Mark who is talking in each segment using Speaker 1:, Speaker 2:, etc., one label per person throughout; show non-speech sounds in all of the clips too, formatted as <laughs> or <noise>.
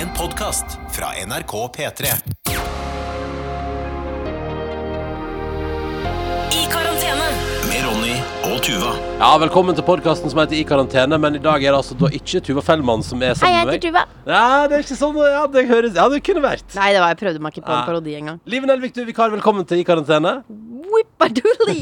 Speaker 1: En podkast fra NRK P3.
Speaker 2: I karantene.
Speaker 1: Med Ronny og Tuva.
Speaker 3: Ja, Velkommen til podkasten som heter I karantene. Men i dag er det altså da ikke Tuva Fellmann som er
Speaker 4: Hei,
Speaker 3: sammen
Speaker 4: jeg
Speaker 3: med
Speaker 4: heter
Speaker 3: meg.
Speaker 4: Tuva.
Speaker 3: Ja, det er ikke sånn Ja, det høres Ja, det kunne vært.
Speaker 4: Nei, det var jeg prøvde meg ikke på
Speaker 3: Nei.
Speaker 4: en parodi engang.
Speaker 3: Liv Nelvik, du er vikar. Velkommen til I karantene. <laughs>
Speaker 4: Whippadoodly!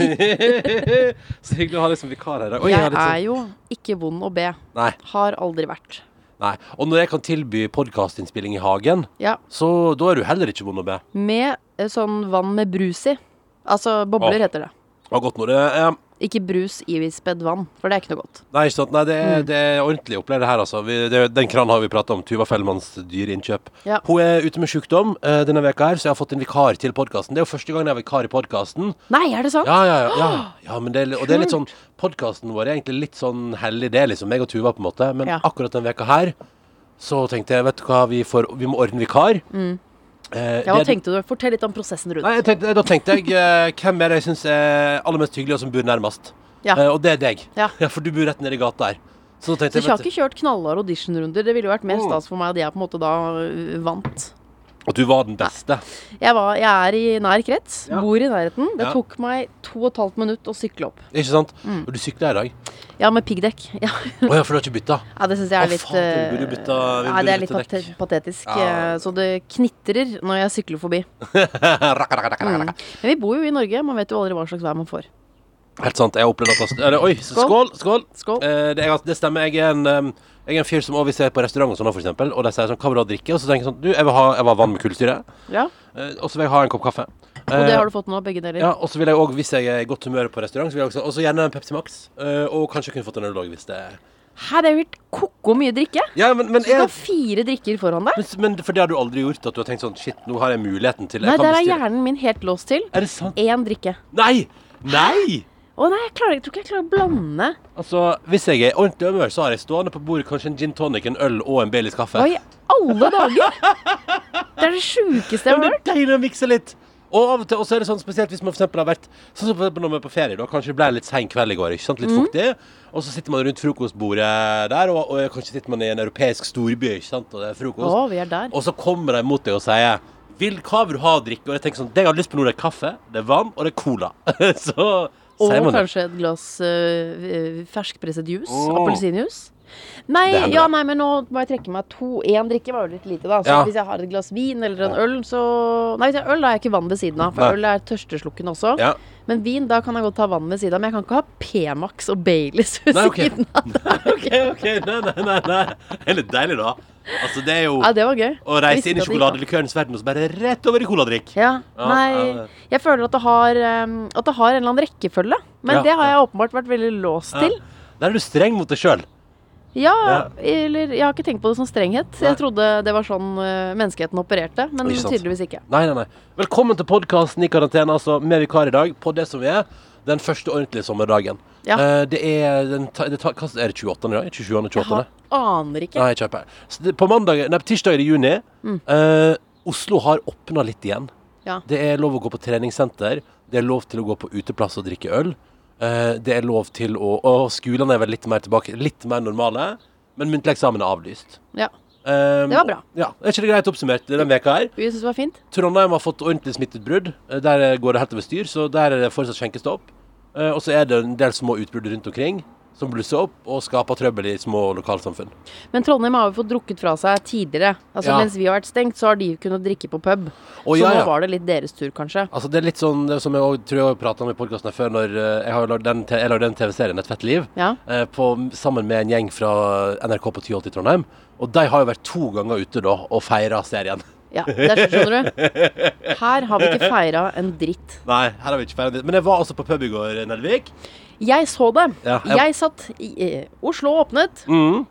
Speaker 3: Så hyggelig å ha deg som vikar her i dag. Oi, jeg har
Speaker 4: Jeg
Speaker 3: litt
Speaker 4: er
Speaker 3: sånn-
Speaker 4: jo ikke vond å be.
Speaker 3: Nei,
Speaker 4: Har aldri vært.
Speaker 3: nei. Og når jeg kan tilby podkastinnspilling i hagen,
Speaker 4: Ja.
Speaker 3: så da er du heller ikke vond å be.
Speaker 4: Med eh, sånn vann med brus i. Altså bobler
Speaker 3: Åh.
Speaker 4: heter det.
Speaker 3: Ja, godt nå. Det er,
Speaker 4: Ikke brus i ispedd vann, for det er ikke noe godt.
Speaker 3: nei, ikke sant. Nei, det
Speaker 4: Mm.
Speaker 3: er, det er ordentlig opplegg, det her, altså. Vi, det, den kranen har vi prata om. Tuva Fellmanns dyre innkjøp.
Speaker 4: Ja.
Speaker 3: Hun er ute med sykdom eh, denne veka her, så jeg har fått en vikar til podkasten. Det er jo første gang jeg er vikar i podkasten.
Speaker 4: Nei, er det sant?
Speaker 3: Ja, ja, ja.
Speaker 4: <gasps>
Speaker 3: ja. ja men det er, li- og det er litt sånn Podkasten vår er egentlig litt sånn hellig, det, er liksom. Meg og Tuva, på en måte. Men
Speaker 4: Ja.
Speaker 3: akkurat den veka her så tenkte jeg, vet du hva, vi, får, vi må ordne vikar. Eh,
Speaker 4: Mm. Ja, hva
Speaker 3: det-
Speaker 4: tenkte du? Fortell litt om prosessen rundt.
Speaker 3: Nei, jeg tenkte, da tenkte jeg eh, hvem er det jeg syns er aller mest hyggelig, og som bor nærmest.
Speaker 4: Ja.
Speaker 3: Eh, og det er deg. <laughs>
Speaker 4: Ja.
Speaker 3: for du bor rett nedi gata der. Så da
Speaker 4: Så
Speaker 3: tenkte
Speaker 4: jeg har
Speaker 3: jeg, vet
Speaker 4: ikke kjørt knallharde auditionrunder. Det ville jo vært mer
Speaker 3: Mm.
Speaker 4: stas for meg at jeg på en måte da øh, vant.
Speaker 3: du, at du var den beste.
Speaker 4: Jeg, var, jeg er i nær krets,
Speaker 3: Ja.
Speaker 4: bor i nærheten. Det
Speaker 3: Ja.
Speaker 4: tok meg to og et halvt minutt å sykle opp.
Speaker 3: Ikke sant?
Speaker 4: Mm.
Speaker 3: Og du sykla i dag.
Speaker 4: Ja, med piggdekk. Ja.
Speaker 3: Å ja, for du har ikke <laughs> bytta?
Speaker 4: Ja, det syns jeg
Speaker 3: Å,
Speaker 4: er litt
Speaker 3: faen, vi
Speaker 4: eh,
Speaker 3: burde bytta- vi
Speaker 4: Nei, det
Speaker 3: burde
Speaker 4: er litt
Speaker 3: bytta
Speaker 4: pate
Speaker 3: dekk.
Speaker 4: patetisk.
Speaker 3: Ja.
Speaker 4: eh, Så det knitrer når jeg sykler forbi. Mm. Men vi bor jo i Norge, man vet jo aldri hva slags vær man får.
Speaker 3: Helt sant. Jeg har opplevd at eller, Oi, så skål!
Speaker 4: Mm.
Speaker 3: Skål!
Speaker 4: Skål. Skål.
Speaker 3: Eh, det, er, ganske- det stemmer. Jeg er en, eh, jeg er en fyr som også hvis jeg er på restaurant og sånn, for eksempel, og de sier sånn Hva vil du ha å drikke? Og så tenker jeg sånn Du, jeg vil ha, jeg vil ha vann med kullsyre.
Speaker 4: Ja,
Speaker 3: eh, og så vil jeg ha en kopp kaffe.
Speaker 4: Og det har du fått nå, begge deler.
Speaker 3: eh, Ja, og så vil jeg òg, hvis jeg er i godt humør på restaurant, så vil jeg også, også gjerne en Pepsi Max. eh, og kanskje kunne fått en øl òg, hvis det
Speaker 4: Her er jo helt koko mye drikke.
Speaker 3: Ja, men, men,
Speaker 4: Du skal
Speaker 3: jeg,
Speaker 4: ha fire drikker foran deg.
Speaker 3: men, men For det har du aldri gjort? At du har tenkt sånn Shit, nå har jeg muligheten til jeg
Speaker 4: Nei,
Speaker 3: kan
Speaker 4: der er
Speaker 3: bestille.
Speaker 4: hjernen min helt låst til.
Speaker 3: Er det sant?
Speaker 4: Én drikke.
Speaker 3: Nei! Nei!
Speaker 4: Å nei, jeg, klarer, jeg tror ikke jeg klarer å blande.
Speaker 3: Altså, Hvis jeg er i ordentlig humør, så har jeg stående på bordet kanskje en gin tonic, en øl og en Baileys kaffe.
Speaker 4: Hva i alle dager? Det er det sjukeste
Speaker 3: Ja,
Speaker 4: jeg har
Speaker 3: men
Speaker 4: hørt.
Speaker 3: det er deilig å mikse litt. Og av og til, og så er det sånn spesielt hvis man for eksempel har vært Sånn som for eksempel når man er på ferie, da. Kanskje det ble litt sein kveld i går, ikke sant? Litt
Speaker 4: Mhm.
Speaker 3: fuktig. Og så sitter man rundt frokostbordet der, og, og kanskje sitter man i en europeisk storby, ikke sant, og det er frokost.
Speaker 4: Å, vi er der.
Speaker 3: Og så kommer de mot deg og sier vil, Hva vil du ha å drikke? Og jeg tenker sånn Det jeg har lyst på nå, det er kaffe, det er vann, og det er cola. <laughs> så
Speaker 4: Og
Speaker 3: sier man det.
Speaker 4: kanskje et glass øh, øh, ferskpresset juice.
Speaker 3: Mm.
Speaker 4: Appelsinjuice. Nei,
Speaker 3: Det er bra.
Speaker 4: ja, nei, men nå må jeg trekke meg to. Én drikke var jo litt lite, da. Så
Speaker 3: Ja.
Speaker 4: hvis jeg har et glass vin eller en øl, så Nei, hvis jeg har øl, da har jeg ikke vann ved siden av. For
Speaker 3: Nei.
Speaker 4: øl er tørsteslukkende også.
Speaker 3: Ja.
Speaker 4: Men vin, da kan jeg godt ta vann ved siden av. Men jeg kan ikke ha P-Max og Baileys ved
Speaker 3: Nei, ok.
Speaker 4: siden av. <laughs>
Speaker 3: OK, OK. Nei, nei, nei. nei. Det er litt deilig, da. Altså, det er jo
Speaker 4: Ja, det var
Speaker 3: <laughs>
Speaker 4: gøy.
Speaker 3: å
Speaker 4: Jeg
Speaker 3: reise
Speaker 4: visste
Speaker 3: inn i
Speaker 4: at det gikk an.
Speaker 3: sjokoladelikørens verden og så bare rett over i coladrikk.
Speaker 4: Ja,
Speaker 3: Ja, ja,
Speaker 4: nei
Speaker 3: det-
Speaker 4: Jeg føler at det har, ehm, at det har en eller annen rekkefølge. Men
Speaker 3: Ja,
Speaker 4: det har jeg åpenbart vært veldig låst til.
Speaker 3: Der er du streng mot deg sjøl.
Speaker 4: Ja,
Speaker 3: Ja.
Speaker 4: eller jeg har ikke tenkt på det som strenghet.
Speaker 3: Nei.
Speaker 4: Jeg trodde det var sånn eh, menneskeheten opererte, men
Speaker 3: Ikke sant.
Speaker 4: tydeligvis ikke.
Speaker 3: Nei, nei, nei. Velkommen til podkasten i karantene, altså med vikar i dag, på det som er den første ordentlige sommerdagen.
Speaker 4: Ja.
Speaker 3: Eh, det er den ta- det ta- hva er det 28. i dag? 27. og 28.
Speaker 4: Jeg har, aner ikke.
Speaker 3: Nei, kjøper. Så det, på mandag, nei, tirsdag i juni, eh, Oslo har åpna litt igjen.
Speaker 4: Mm. Ja.
Speaker 3: Det er lov å gå på treningssenter, det er lov til å gå på uteplass og drikke øl. eh, det er lov til å Og skolene er vel litt mer tilbake, litt mer normale, men muntlig eksamen er avlyst.
Speaker 4: Ja.
Speaker 3: Eh,
Speaker 4: Det var bra.
Speaker 3: Ja, Er ikke det greit oppsummert denne veka her?
Speaker 4: Vi syns det var fint.
Speaker 3: Trondheim har fått ordentlig smitteutbrudd. Eh, Der går det helt over styr, så der er det fortsatt skjenkestopp. Eh, Og så er det en del små utbrudd rundt omkring som blusser opp og skaper trøbbel i små lokalsamfunn.
Speaker 4: Men Trondheim har jo fått drukket fra seg tidligere. Altså
Speaker 3: Ja.
Speaker 4: Mens vi har vært stengt, så har de kunnet drikke på pub.
Speaker 3: Å,
Speaker 4: så
Speaker 3: ja, ja.
Speaker 4: nå var det litt deres tur, kanskje.
Speaker 3: Altså Det er litt sånn det som jeg også, tror jeg har prata om i podkasten før, når eh, jeg har jo lagd den, te- jeg lagde den TV-serien Et fett liv
Speaker 4: Ja.
Speaker 3: eh, på, sammen med en gjeng fra NRK på 1080 i Trondheim. Og de har jo vært to ganger ute da og feira serien. <laughs>
Speaker 4: Ja, der skjønner du. Her har vi ikke feira en dritt.
Speaker 3: Nei, her har vi ikke feira det. Men jeg var altså på pub i går, Nelvik.
Speaker 4: Jeg så det.
Speaker 3: Ja, jeg-
Speaker 4: jeg... satt i eh, Oslo åpnet.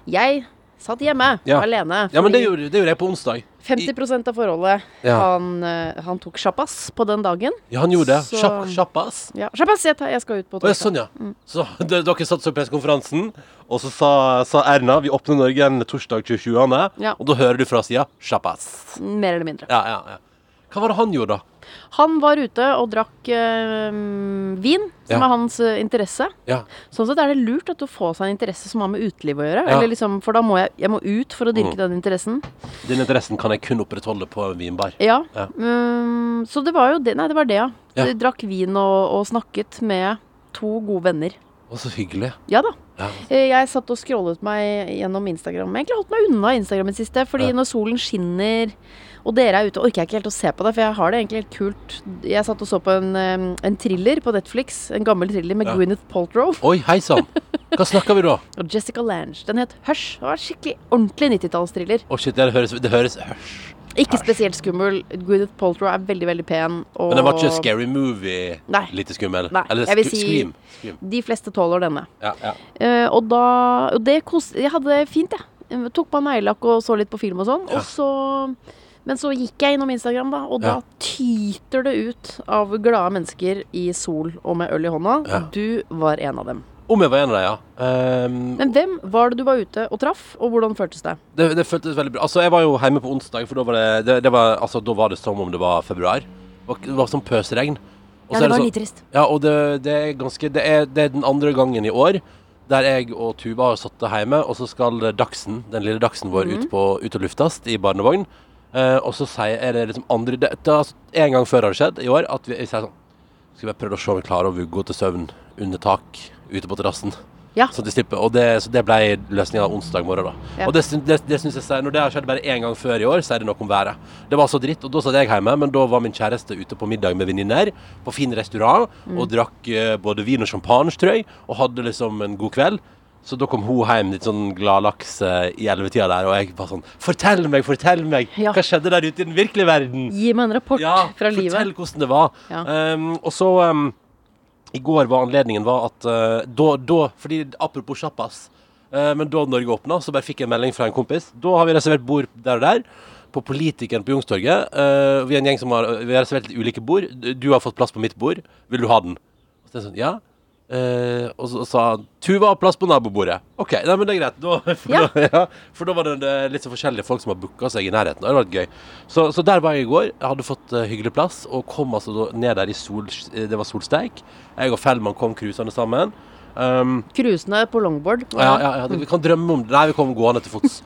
Speaker 4: Jeg satt hjemme
Speaker 3: Ja.
Speaker 4: alene.
Speaker 3: Ja, men det
Speaker 4: fordi-
Speaker 3: gjorde, det gjorde jeg på onsdag.
Speaker 4: 50 av forholdet
Speaker 3: Ja.
Speaker 4: han, eh, han tok sjappas på den dagen.
Speaker 3: Ja, han gjorde det.
Speaker 4: Så-
Speaker 3: Kjapp- Kjappas.
Speaker 4: Ja, sjappas, jeg, tar- jeg skal ut på
Speaker 3: Å, ja,
Speaker 4: torsdag.
Speaker 3: sånn, ja. Så <laughs> d- dere satt så pressekonferansen, og så sa, sa Erna vi åpner Norge en torsdag 27.
Speaker 4: Ja.
Speaker 3: Og da hører du fra sida 'sjappas'.
Speaker 4: Mer eller mindre.
Speaker 3: Ja, ja, ja. Hva var det han gjorde, da?
Speaker 4: Han var ute og drakk eh, vin, som
Speaker 3: Ja.
Speaker 4: er hans eh, interesse.
Speaker 3: Ja.
Speaker 4: Sånn sett er det lurt at du får seg en interesse som har med uteliv å
Speaker 3: Ja.
Speaker 4: gjøre.
Speaker 3: Mm.
Speaker 4: Eller liksom, for da må jeg, jeg må ut for å dyrke den interessen.
Speaker 3: Den interessen kan jeg kun opprettholde på en vinbar.
Speaker 4: Ja.
Speaker 3: Ja.
Speaker 4: Mm, så det var jo det. Nei, det var det, ja.
Speaker 3: Ja.
Speaker 4: De drakk vin og, og snakket med to gode venner.
Speaker 3: Å, så hyggelig.
Speaker 4: Ja da.
Speaker 3: Ja.
Speaker 4: Eh, Jeg satt og scrollet meg gjennom Instagram. Jeg har egentlig holdt meg unna Instagram i det siste, fordi
Speaker 3: Ja.
Speaker 4: når solen skinner og dere er ute, orker jeg ikke helt å se på det, for jeg har det egentlig helt kult. Jeg satt og så på en, eh, en thriller på Netflix, en gammel thriller med
Speaker 3: Ja.
Speaker 4: Gwyneth Paltrow
Speaker 3: Oi, hei sann. Hva snakker vi da? Å,
Speaker 4: og Jessica Lange. Den het Hush. Det var en skikkelig ordentlig 90-tallsthriller.
Speaker 3: shit, det høres, det høres Hørs.
Speaker 4: Ikke spesielt skummel. Gwyneth Paltrow er veldig, veldig pen. Og
Speaker 3: Men det var ikke Scary Movie
Speaker 4: Nei.
Speaker 3: lite skummel?
Speaker 4: Nei,
Speaker 3: Eller
Speaker 4: jeg vil
Speaker 3: sku-
Speaker 4: si-
Speaker 3: Scream? Scream.
Speaker 4: De fleste tåler denne.
Speaker 3: Ja, ja.
Speaker 4: Eh, og da Og det kos... Jeg hadde det fint, jeg. jeg. Tok på meg neglelakk og så litt på film og sånn.
Speaker 3: Ja.
Speaker 4: Og så Men så gikk jeg innom Instagram, da, og
Speaker 3: Ja.
Speaker 4: da tyter det ut av glade mennesker i sol og med øl i hånda.
Speaker 3: Ja.
Speaker 4: Du var en av dem.
Speaker 3: Om jeg var en av dem, ja. Ehm,
Speaker 4: Men hvem var det du var ute og traff, og hvordan føltes det?
Speaker 3: det, det føltes veldig bra. Altså, jeg var jo hjemme på onsdag, for da var det, det, det, var, altså, da var det som om det var februar. Det var, det var som pøsregn. Og så er
Speaker 4: Ja, det var
Speaker 3: sånn-
Speaker 4: litt trist.
Speaker 3: Ja, og det, det er ganske det er, det er den andre gangen i år der jeg og Tuva har sittet hjemme, og så skal Dagsen, den lille Dagsen vår,
Speaker 4: Mhm.
Speaker 3: ut, på, ut og luftes i barnevogn. Eh, og så sier er det liksom andre det, det, er altså, En gang før har det skjedd i år at vi jeg sier sånn Skal vi bare prøve å se om vi klarer å vugge henne til søvn under tak ute på terrassen.
Speaker 4: Ja.
Speaker 3: Så de slipper. Og det, så det ble løsninga onsdag morgen, da.
Speaker 4: Ja.
Speaker 3: Og det, syn- det, det synes jeg sier Når det har skjedd bare én gang før i år, sier det noe om været. Det var så dritt, og da satt jeg hjemme, men da var min kjæreste ute på middag med venninner på fin restaurant
Speaker 4: Mm.
Speaker 3: og drakk eh, både vin og champagne, tror jeg, og hadde liksom en god kveld. Så da kom hun hjem litt sånn gladlaks eh, i ellevetida der, og jeg var sånn Fortell meg, fortell meg!
Speaker 4: Ja.
Speaker 3: Hva skjedde der ute i den virkelige verden?
Speaker 4: Gi meg en rapport
Speaker 3: Ja,
Speaker 4: fra
Speaker 3: fortell
Speaker 4: livet.
Speaker 3: hvordan det var.
Speaker 4: Ja.
Speaker 3: Ehm, og så ehm, I går var anledningen var at eh, da, da Fordi apropos sjappas, eh, men da Norge åpna, så bare fikk jeg en melding fra en kompis. Da har vi reservert bord der og der. På Politikeren på Youngstorget. Eh, vi er en gjeng som har, vi har reservert litt ulike bord. Du- Du har fått plass på mitt bord. Vil du ha den? Og så er jeg sånn, ja. Eh, og så sa han Tuva har plass på nabobordet. OK, nei, men det er greit. Da, <laughs> for,
Speaker 4: Ja.
Speaker 3: Da, ja, for da var det eh, litt så forskjellige folk som har booka seg i nærheten. og Det hadde vært gøy. Så, så der var jeg i går. Jeg hadde fått eh, hyggelig plass og kom altså da ned der i sol, eh, det var solsteik. Jeg og Fellman kom cruisende sammen. Um,
Speaker 4: Cruisene på longboard.
Speaker 3: ja, ja, ja, vi kan drømme om det. Nei, vi kom gående til
Speaker 4: <laughs>
Speaker 3: fots.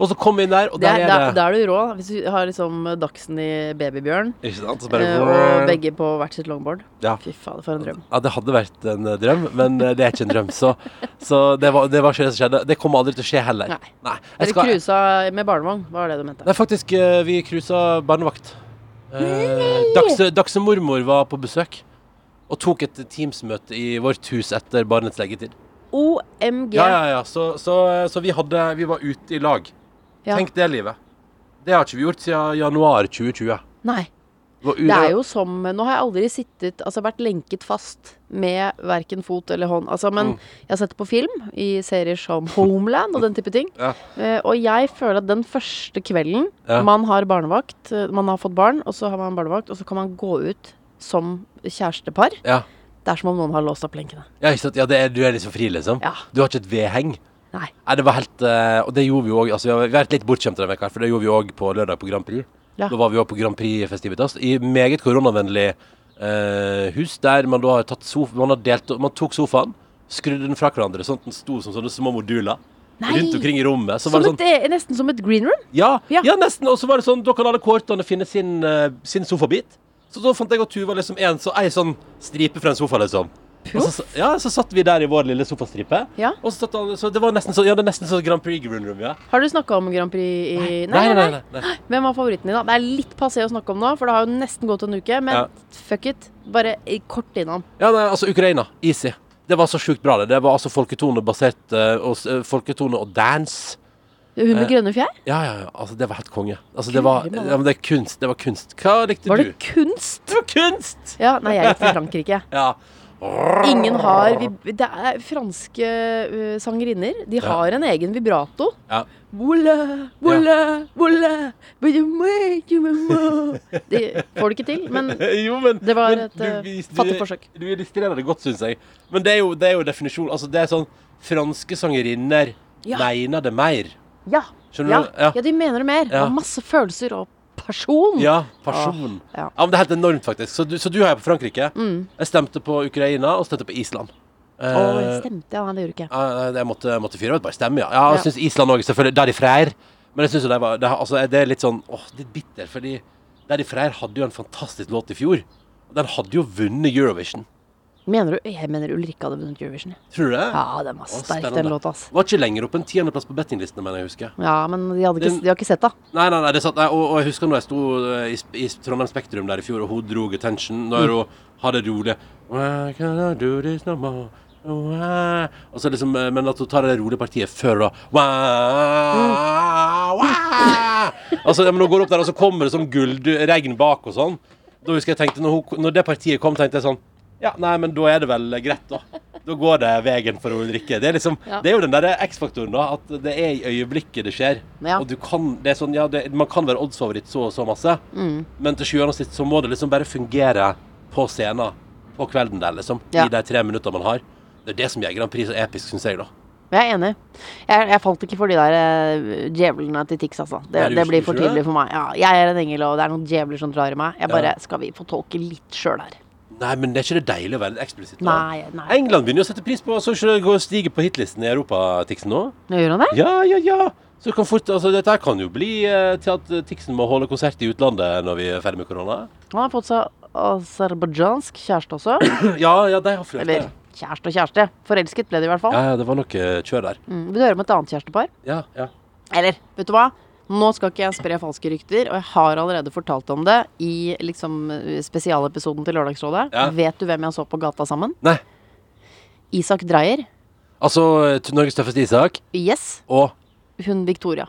Speaker 3: Og så kom vi inn der, og
Speaker 4: Det
Speaker 3: der
Speaker 4: er,
Speaker 3: er
Speaker 4: da-
Speaker 3: det
Speaker 4: da er du rå, hvis du har liksom Dagsen i Babybjørn,
Speaker 3: Ikke sant? Så
Speaker 4: eh, og begge på hvert sitt longboard.
Speaker 3: Ja.
Speaker 4: Fy fader, for en drøm.
Speaker 3: Ja, det hadde vært en eh, drøm, men eh, det er ikke en drøm. Så, så det, var, det var ikke det som skjedde. Det kommer aldri til å skje heller.
Speaker 4: Nei.
Speaker 3: Jeg
Speaker 4: Dere
Speaker 3: skal-
Speaker 4: cruisa med barnevogn, hva var det du mente?
Speaker 3: Nei, faktisk, eh, vi cruisa barnevakt. Eh, Dagse, Dagse mormor var på besøk og tok et Teams-møte i vårt hus etter barnets leggetid.
Speaker 4: OMG.
Speaker 3: Ja, ja, ja. Så, så, eh, så vi, hadde, vi var ute i lag.
Speaker 4: Ja.
Speaker 3: Tenk det livet. Det har ikke vi gjort siden januar 2020.
Speaker 4: Nei.
Speaker 3: var u-
Speaker 4: Det er jo som Nå har jeg aldri sittet Altså vært lenket fast med verken fot eller hånd. Altså,
Speaker 3: Mm.
Speaker 4: men jeg har sett det på film, i serier som Homeland og den type ting.
Speaker 3: <laughs> Ja.
Speaker 4: Eh, og jeg føler at den første kvelden
Speaker 3: Ja.
Speaker 4: man har barnevakt eh, Man har fått barn, og så har man barnevakt, og så kan man gå ut som kjærestepar.
Speaker 3: Ja.
Speaker 4: Det er som om noen har låst opp lenkene.
Speaker 3: Ja, ikke sant? ja det er, du er liksom fri, liksom.
Speaker 4: Ja.
Speaker 3: Du har ikke et vedheng.
Speaker 4: Nei.
Speaker 3: Nei, det var helt eh, Og det gjorde vi jo òg. Altså, vi har vi har vært litt bortskjemte denne veka, for det gjorde vi òg på lørdag på Grand Prix.
Speaker 4: Ja.
Speaker 3: Da var vi òg på Grand Prix-festivitas i meget koronavennlig eh, hus, der man da har tatt sof man, har delt, man tok sofaen, skrudde den fra hverandre, sånn at den sto som sånne små moduler
Speaker 4: Nei.
Speaker 3: rundt omkring i rommet. Så
Speaker 4: Som
Speaker 3: var det
Speaker 4: et,
Speaker 3: sånn
Speaker 4: eh, nesten som et green room.
Speaker 3: ja, ja.
Speaker 4: Ja.
Speaker 3: nesten. Og så var det sånn, da kan alle kortene finne sin, eh, sin sofabit. Så da fant jeg og Tuva liksom en, så, ei sånn stripe fra en sofa, liksom. Og så, ja, så satt vi der i vår lille sofastripe.
Speaker 4: Ja.
Speaker 3: Og så satt alle, så det var nesten sånn ja, det er nesten sånn Grand Prix Green Room, ja.
Speaker 4: Har du snakka om Grand Prix i
Speaker 3: Nei, nei, nei, nei.
Speaker 4: Hvem var favoritten din, da? Det er litt passé å snakke om nå, for det har jo nesten gått en uke. Men
Speaker 3: Ja.
Speaker 4: fuck it. Bare i- kort innom.
Speaker 3: Ja, nei, altså Ukraina. Easy. Det var så sjukt bra, det. Det var altså folketone basert eh, og, s- eh, Folketone og dance.
Speaker 4: Hun
Speaker 3: Eh,
Speaker 4: med grønne fjær?
Speaker 3: Ja, ja, ja. Altså, det var helt konge. Altså, det var,
Speaker 4: Guri
Speaker 3: ja,
Speaker 4: malla.
Speaker 3: men det er kunst. Det var kunst. Hva likte
Speaker 4: Var
Speaker 3: du?
Speaker 4: det kunst?
Speaker 3: Det var kunst!
Speaker 4: Ja, nei, jeg likte Frankrike.
Speaker 3: Ja.
Speaker 4: Ingen har vib- Det er franske øh, sangerinner. De har en egen vibrato.
Speaker 3: ja.
Speaker 4: Voila, voila, voila but you make you more. De får det ikke til, men
Speaker 3: <laughs> Jo, men
Speaker 4: Det var
Speaker 3: men
Speaker 4: et,
Speaker 3: du
Speaker 4: eh,
Speaker 3: vis- du-
Speaker 4: fattig forsøk.
Speaker 3: Du illustrerer det godt, syns jeg. Men det er jo, det er jo definisjon. Altså, det er sånn Franske sangerinner
Speaker 4: Ja.
Speaker 3: mener det mer.
Speaker 4: ja.
Speaker 3: Skjønner
Speaker 4: ja.
Speaker 3: du? Ja.
Speaker 4: Ja, de mener det mer. Det
Speaker 3: Ja.
Speaker 4: var masse følelser og person.
Speaker 3: Ja, person.
Speaker 4: Åh, ja. Mm.
Speaker 3: men Det er helt enormt, faktisk. Så du, så du heier på Frankrike. Jeg stemte på Ukraina, og stemte på Island. Eh,
Speaker 4: Å, stemte, ja. Nei, det gjorde ikke jeg.
Speaker 3: eh, jeg måtte, måtte fyre ut, bare stemme, ja. ja jeg
Speaker 4: Ja.
Speaker 3: synes Island også, selvfølgelig. Der de Freyr. Men jeg synes jo det var det, har- altså, det er litt sånn åh, litt bitter, fordi Der de Freyr hadde jo en fantastisk låt i fjor. Og Den hadde jo vunnet Eurovision.
Speaker 4: Mener du, jeg mener Ulrikke hadde vunnet Eurovision. jeg.
Speaker 3: Tror du det?
Speaker 4: Ja, den var
Speaker 3: Å,
Speaker 4: sterk,
Speaker 3: spennende.
Speaker 4: den låta. ass.
Speaker 3: Var ikke lenger opp enn tiendeplass på bettinglistene, mener jeg å huske.
Speaker 4: Ja, men de, hadde ikke,
Speaker 3: Den-
Speaker 4: de har ikke sett det.
Speaker 3: Nei, nei, nei, det satt, nei og, og jeg husker når jeg sto eh, i, sp- i Trondheim Spektrum der i fjor, og hun dro attention
Speaker 4: Mm.
Speaker 3: når hun hadde rolig Why can I do this no more? Why? Og så liksom, eh, men at hun tar det rolige partiet før da Why?
Speaker 4: Mm.
Speaker 3: Why? Altså, ja, men Hun går opp der, og så kommer det sånn gullregn bak og sånn. Da husker jeg tenkte, når, hun, når det partiet kom, tenkte jeg sånn Ja, nei, men da er det vel greit, da. Da går det veien for Ulrikke. Det er liksom,
Speaker 4: Ja.
Speaker 3: det er jo den derre X-faktoren, da. At det er i øyeblikket det skjer.
Speaker 4: Ja.
Speaker 3: Og du kan, det er sånn, ja, det, man kan være oddsfavoritt så og så masse,
Speaker 4: Mm.
Speaker 3: men til sjuende og sist så må det liksom bare fungere på scenen på kvelden der, liksom.
Speaker 4: Ja.
Speaker 3: I de tre minuttene man har. Det er det som gjør Grand Prix så episk, syns jeg, da.
Speaker 4: Jeg er enig. Jeg, jeg falt ikke for de der eh, djevlene til Tix, altså. Det,
Speaker 3: Er du
Speaker 4: det blir
Speaker 3: usikker,
Speaker 4: for
Speaker 3: tror du det?
Speaker 4: tidlig for meg. Ja, jeg er en engel, og det er noen djevler som drar i meg. Jeg bare
Speaker 3: Ja.
Speaker 4: Skal vi få tolke litt sjøl her?
Speaker 3: Nei, men det er ikke det deilig å være litt eksplisitt? da?
Speaker 4: Nei, nei.
Speaker 3: England begynner jo å sette pris på så ikke det går og stiger på hitlisten i Europatiksen nå.
Speaker 4: Nå gjør han det?
Speaker 3: Ja, ja, ja. Så kan fort, altså, dette her kan jo bli eh, til at eh, Tixen må holde konsert i utlandet når vi er ferdig med korona. <clears throat>
Speaker 4: Han har fått seg aserbajdsjansk kjæreste også.
Speaker 3: Ja, ja, de har flørta.
Speaker 4: Eller kjæreste og kjæreste. Forelsket ble de i hvert fall.
Speaker 3: Ja, ja, det var nok eh, kjør der.
Speaker 4: Mm. Vil du høre om et annet kjærestepar?
Speaker 3: Ja, ja.
Speaker 4: Eller, vet du hva? Nå skal ikke jeg spre falske rykter, og jeg har allerede fortalt om det i liksom eh, spesialepisoden til Lørdagsrådet.
Speaker 3: Ja.
Speaker 4: Vet du hvem jeg så på gata sammen?
Speaker 3: Nei.
Speaker 4: Isak Dreyer.
Speaker 3: Altså til Norges tøffeste Isak
Speaker 4: Yes.
Speaker 3: og
Speaker 4: Hun Victoria.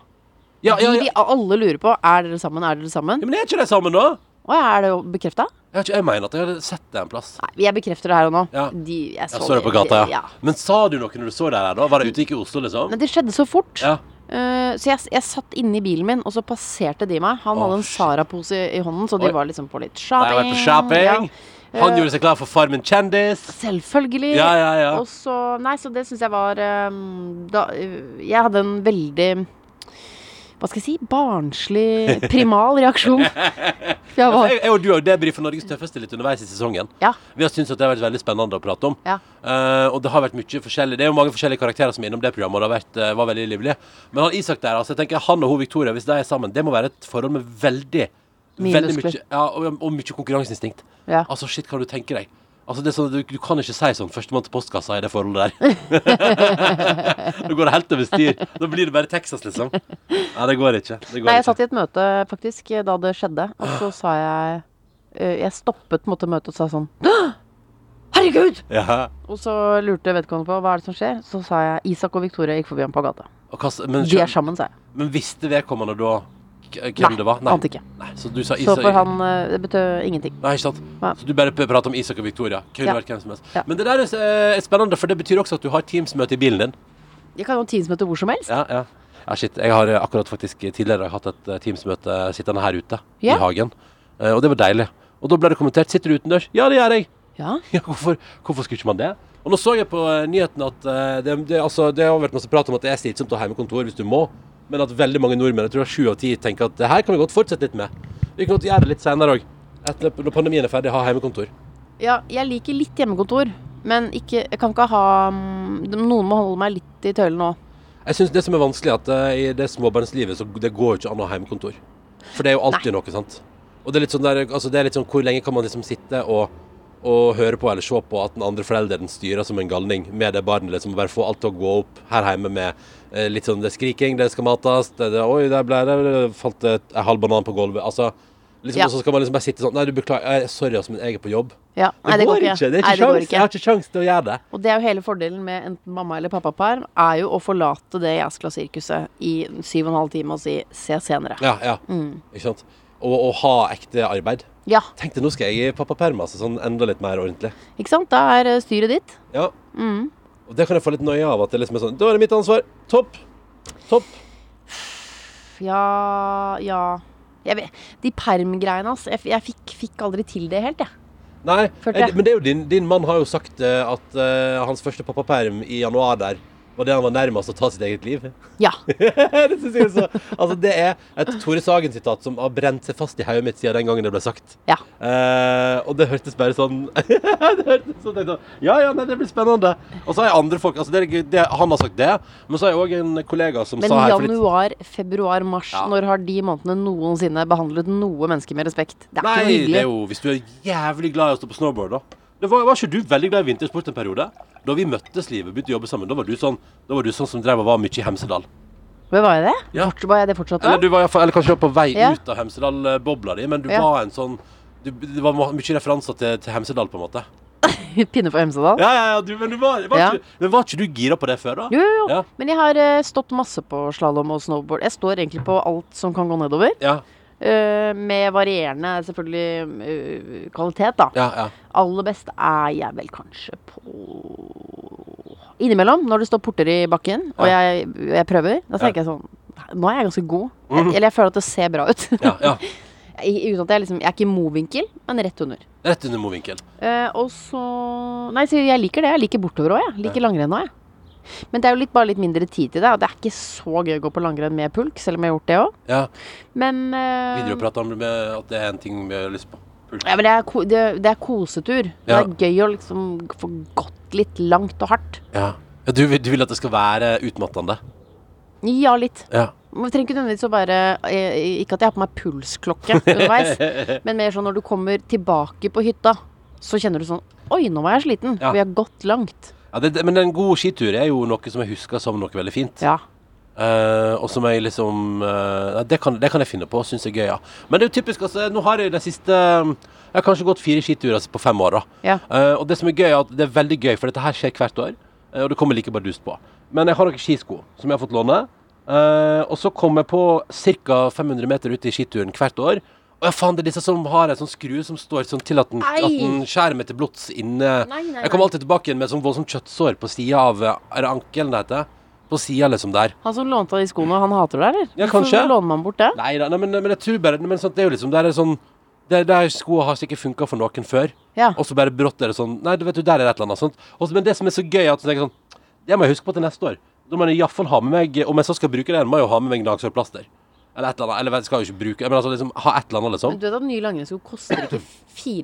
Speaker 3: ja, ja,
Speaker 4: De vi
Speaker 3: ja.
Speaker 4: alle lurer på, er dere sammen, er dere sammen?
Speaker 3: ja, men er ikke de sammen, da?
Speaker 4: Å ja, er det jo bekrefta?
Speaker 3: Jeg, har ikke, jeg mener at jeg hadde sett det en plass.
Speaker 4: Nei, jeg bekrefter det her og nå.
Speaker 3: Ja.
Speaker 4: De, jeg så,
Speaker 3: Jeg så det på gata, ja. Men sa du noe når du så det her, da? Var det ute i Oslo, liksom?
Speaker 4: Men det skjedde så fort.
Speaker 3: Ja.
Speaker 4: Eh, så jeg, jeg satt inne i bilen min, og så passerte de meg. Han
Speaker 3: Å,
Speaker 4: hadde en
Speaker 3: shit.
Speaker 4: Sara-pose i, i hånden, så de
Speaker 3: Oi.
Speaker 4: var liksom på litt
Speaker 3: Da jeg
Speaker 4: shopping.
Speaker 3: var på shopping.
Speaker 4: Ja.
Speaker 3: Han gjorde seg klar for Farmen kjendis.
Speaker 4: Selvfølgelig.
Speaker 3: Ja, ja, ja.
Speaker 4: Og så Nei, så det syns jeg var eh, da, eh, Jeg hadde en veldig Hva skal jeg si? Barnslig, primal
Speaker 3: <laughs>
Speaker 4: reaksjon. For jeg var
Speaker 3: Jeg, jeg og du har debrifa Norges tøffeste litt underveis i sesongen.
Speaker 4: Ja.
Speaker 3: Vi har syntes at det har vært veldig spennende å prate om.
Speaker 4: Ja.
Speaker 3: Eh, og det har vært mye forskjellig. Det er jo mange forskjellige karakterer som er innom det programmet, og det har vært, eh, var veldig livlig. Men han Isak der, altså, jeg tenker han og hun Victoria, hvis de er sammen, det må være et forhold med veldig
Speaker 4: Mye
Speaker 3: veldig
Speaker 4: muskler.
Speaker 3: mye- ja, og, og mye konkurranseinstinkt.
Speaker 4: Ja.
Speaker 3: Altså, shit, hva du tenker deg? Altså, det er sånn, du, du kan ikke si sånn 'førstemann til postkassa' i det forholdet der.
Speaker 4: <laughs>
Speaker 3: da går det helt over styr. Da blir det bare Texas, liksom. Nei, det går ikke. Det går
Speaker 4: Nei, jeg
Speaker 3: ikke.
Speaker 4: satt i et møte faktisk da det skjedde, og så sa jeg eh, Jeg stoppet på en måte møtet og sa sånn «Åh! Herregud!
Speaker 3: Ja.
Speaker 4: Og så lurte vedkommende på hva er det som skjer. Så sa jeg Isak og Victoria gikk forbi ham på gata.
Speaker 3: Og hva, s- men,
Speaker 4: De er sammen, sa jeg.
Speaker 3: Men visste vedkommende da k- eh, hvem
Speaker 4: Nei,
Speaker 3: det var?
Speaker 4: ante ikke.
Speaker 3: Nei, så du sa
Speaker 4: Så
Speaker 3: Isak
Speaker 4: for han eh, Det betød ingenting.
Speaker 3: Nei, ikke sant?
Speaker 4: Nei.
Speaker 3: Så du bare p- prater om Isak og Victoria. Kunne
Speaker 4: Ja.
Speaker 3: vært hvem som helst.
Speaker 4: Ja.
Speaker 3: Men det der er s- eh, spennende, for det betyr også at du har Teams-møte i bilen din.
Speaker 4: Jeg kan jo ha Teams-møte hvor som helst.
Speaker 3: Ja, ja. Ja, shit. Jeg har eh, akkurat faktisk tidligere hatt et eh, Teams-møte sittende her ute
Speaker 4: Ja.
Speaker 3: i hagen. Eh, Og det var deilig. Og da ble det kommentert 'Sitter du utendørs?' Ja, det gjør jeg.
Speaker 4: Ja.
Speaker 3: Ja, hvorfor, hvorfor skulle ikke man det? Og nå så jeg på eh, nyheten at eh, det, det, altså, det har vært masse prat om at det er slitsomt å ha hjemmekontor hvis du må, men at veldig mange nordmenn, jeg tror det er sju av ti, tenker at det her kan vi godt fortsette litt med. Vi kan godt gjøre det litt senere òg. Når pandemien er ferdig, ha hjemmekontor.
Speaker 4: ja. Jeg liker litt hjemmekontor, men ikke Jeg kan ikke ha mm, Noen må holde meg litt i tøylen nå.
Speaker 3: Jeg syns det som er vanskelig, er at eh, i det småbarnslivet så det går jo ikke an å ha hjemmekontor. For det er jo alltid noe, sant. Og det er litt sånn der, altså det er litt sånn hvor lenge kan man liksom sitte og, og høre på eller se på at den andre forelderen styrer som en galning med det barnet, liksom. Bare få alt til å gå opp her hjemme med eh, litt sånn det er skriking, det skal mates, det, det, oi, der ble det, det falt et- en halv banan på gulvet. Altså liksom,
Speaker 4: Ja.
Speaker 3: Og så skal man liksom bare sitte sånn Nei, du beklager, eh, sorry, altså, men jeg er på jobb.
Speaker 4: Ja. Nei, det går ikke.
Speaker 3: Det er
Speaker 4: Nei,
Speaker 3: ikke
Speaker 4: det går
Speaker 3: sjans. Jeg har ikke sjans til å gjøre det.
Speaker 4: Og det er jo hele fordelen med enten mamma- eller pappaperm, er jo å forlate det jæskla-sirkuset i syv og en halv time og si 'se senere'.
Speaker 3: Ja, ja.
Speaker 4: Mm.
Speaker 3: Ikke sant. Og, og ha ekte arbeid.
Speaker 4: Ja,
Speaker 3: Tenk deg, nå skal jeg i pappaperm, altså, sånn enda litt mer ordentlig.
Speaker 4: ikke sant? Da er eh, styret ditt.
Speaker 3: Ja. Og det kan jeg få litt nøye av, at det liksom er sånn, da er det mitt ansvar. Topp. Topp.
Speaker 4: Ja, ja jeg vet, De permgreiene, ass. Jeg, f- jeg fikk, fikk aldri til det helt, jeg.
Speaker 3: Nei,
Speaker 4: Følte
Speaker 3: jeg-
Speaker 4: jeg.
Speaker 3: men det er jo din, din mann har jo sagt eh, at eh, hans første pappaperm i januar der, var det han var nærmest å ta sitt eget liv. <laughs>
Speaker 4: Ja.
Speaker 3: det synes jeg er så Altså, det er et Tore Sagen-sitat som har brent seg fast i hodet mitt siden den gangen det ble sagt. <laughs>
Speaker 4: ja.
Speaker 3: Eh, og det hørtes bare sånn <laughs> Det hørtes sånn tenkte jeg, Ja, ja, nei, det blir spennende. Og så har jeg andre folk altså, det, er gøy, det, Han har sagt det, men så har jeg òg en kollega som
Speaker 4: Men
Speaker 3: sa her for litt-
Speaker 4: januar, februar, mars,
Speaker 3: Ja.
Speaker 4: når har de månedene noensinne behandlet noe menneske med respekt? Det er ikke noe
Speaker 3: Nei, det
Speaker 4: hyggelig.
Speaker 3: er jo hvis du er jævlig glad i å stå på snowboard, da. Det var, var ikke du veldig glad i vintersport en periode? Da vi møttes, livet begynte å jobbe sammen, da var du sånn, da var du sånn som drev og var mye i Hemsedal.
Speaker 4: Men var jeg det?
Speaker 3: Ja.
Speaker 4: Fortsatt- Var jeg det fortsatt da?
Speaker 3: Eller, du var, i hvert fall- eller kanskje du var på vei
Speaker 4: Ja.
Speaker 3: ut av Hemsedal-bobla di, men du
Speaker 4: Ja.
Speaker 3: var en sånn du, Det var ma- mye referanser til, til Hemsedal, på en måte.
Speaker 4: <laughs> Pinne for Hemsedal?
Speaker 3: Ja, ja, ja, du, men, du var, var,
Speaker 4: Ja.
Speaker 3: ikke, men var ikke du gira på det før, da?
Speaker 4: Jo, jo, jo.
Speaker 3: Ja.
Speaker 4: Men jeg har eh, stått masse på slalåm og snowboard. Jeg står egentlig på alt som kan gå nedover.
Speaker 3: Ja,
Speaker 4: eh, med varierende, selvfølgelig, eh, kvalitet, da.
Speaker 3: ja, ja.
Speaker 4: Aller best er jeg vel kanskje på Innimellom, når det står porter i bakken, og
Speaker 3: Ja.
Speaker 4: jeg, jeg prøver, da tenker jeg sånn Nå er jeg ganske god. Jeg, eller jeg føler at det ser bra ut.
Speaker 3: Mhm. ja, ja.
Speaker 4: <laughs> I- Uten at jeg liksom Jeg er ikke i movinkel, men rett under.
Speaker 3: Rett under movinkel.
Speaker 4: Eh, og så Nei, så jeg liker det. Jeg liker bortover òg, jeg. Liker langrenn òg, jeg. Men det er jo litt, bare litt mindre tid til det. Og det er ikke så gøy å gå på langrenn med pulk, selv om jeg har gjort det òg.
Speaker 3: Ja.
Speaker 4: Men, eh,
Speaker 3: Videre å prate om det med at det er en ting vi har lyst på. Pult.
Speaker 4: ja, men det, er ko det, det er kosetur.
Speaker 3: Ja.
Speaker 4: Det er gøy å liksom få gått litt langt og hardt.
Speaker 3: Ja. Ja, du, vil- du vil at det skal være utmattende?
Speaker 4: Ja, litt.
Speaker 3: Ja.
Speaker 4: Man trenger ikke nødvendigvis å være eh, Ikke at jeg har på meg pulsklokke
Speaker 3: <laughs>
Speaker 4: underveis, men mer sånn når du kommer tilbake på hytta, så kjenner du sånn Oi, nå var jeg sliten.
Speaker 3: Ja.
Speaker 4: Vi har gått langt.
Speaker 3: Ja, det, det- men en god skitur er jo noe som jeg husker som noe veldig fint.
Speaker 4: Ja.
Speaker 3: Eh, og som jeg liksom eh, nei, det, kan, det kan jeg finne på, syns jeg er gøy, ja. Men det er jo typisk, altså. Nå har jeg de siste Jeg har kanskje gått fire skiturer på fem år, da.
Speaker 4: Ja.
Speaker 3: Eh, og det som er gøy, er at det er veldig gøy, for dette her skjer hvert år. eh, og det kommer like bardust på. Men jeg har noen skisko som jeg har fått låne. eh, og så kom jeg på ca. 500 meter ut i skituren hvert år. Og ja, faen, det er disse som har en sånn skru som står sånn til at den,
Speaker 4: Ei!
Speaker 3: at den skjærer meg til blods inne.
Speaker 4: Nei, nei,
Speaker 3: Jeg kommer
Speaker 4: nei.
Speaker 3: alltid tilbake igjen med et sånn voldsomt kjøttsår på sida av eh, Er det ankelen det heter? På sida, liksom, der.
Speaker 4: Han som lånte av de skoene, han hater deg, eller?
Speaker 3: Ja,
Speaker 4: Hvorfor
Speaker 3: kanskje.
Speaker 4: låner man bort det?
Speaker 3: Nei da, nei, men, men jeg tror bare men sånn, Det er jo liksom, det er sånn det, Der skoene har sikkert funka for noen før,
Speaker 4: Ja.
Speaker 3: og så bare brått er det sånn Nei, du vet du, der er det et eller annet sånt. Og så- men det som er så gøy, er at så tenker jeg sånn Det må jeg huske på til neste år. Da må jeg iallfall ha med meg Om jeg så skal bruke den, må jeg jo ha med meg gnagsårplaster. Eller et eller annet. Eller jeg skal jo ikke bruke Men altså liksom ha et eller annet,
Speaker 4: Men
Speaker 3: liksom.
Speaker 4: du vet at nye langrennssko koster ikke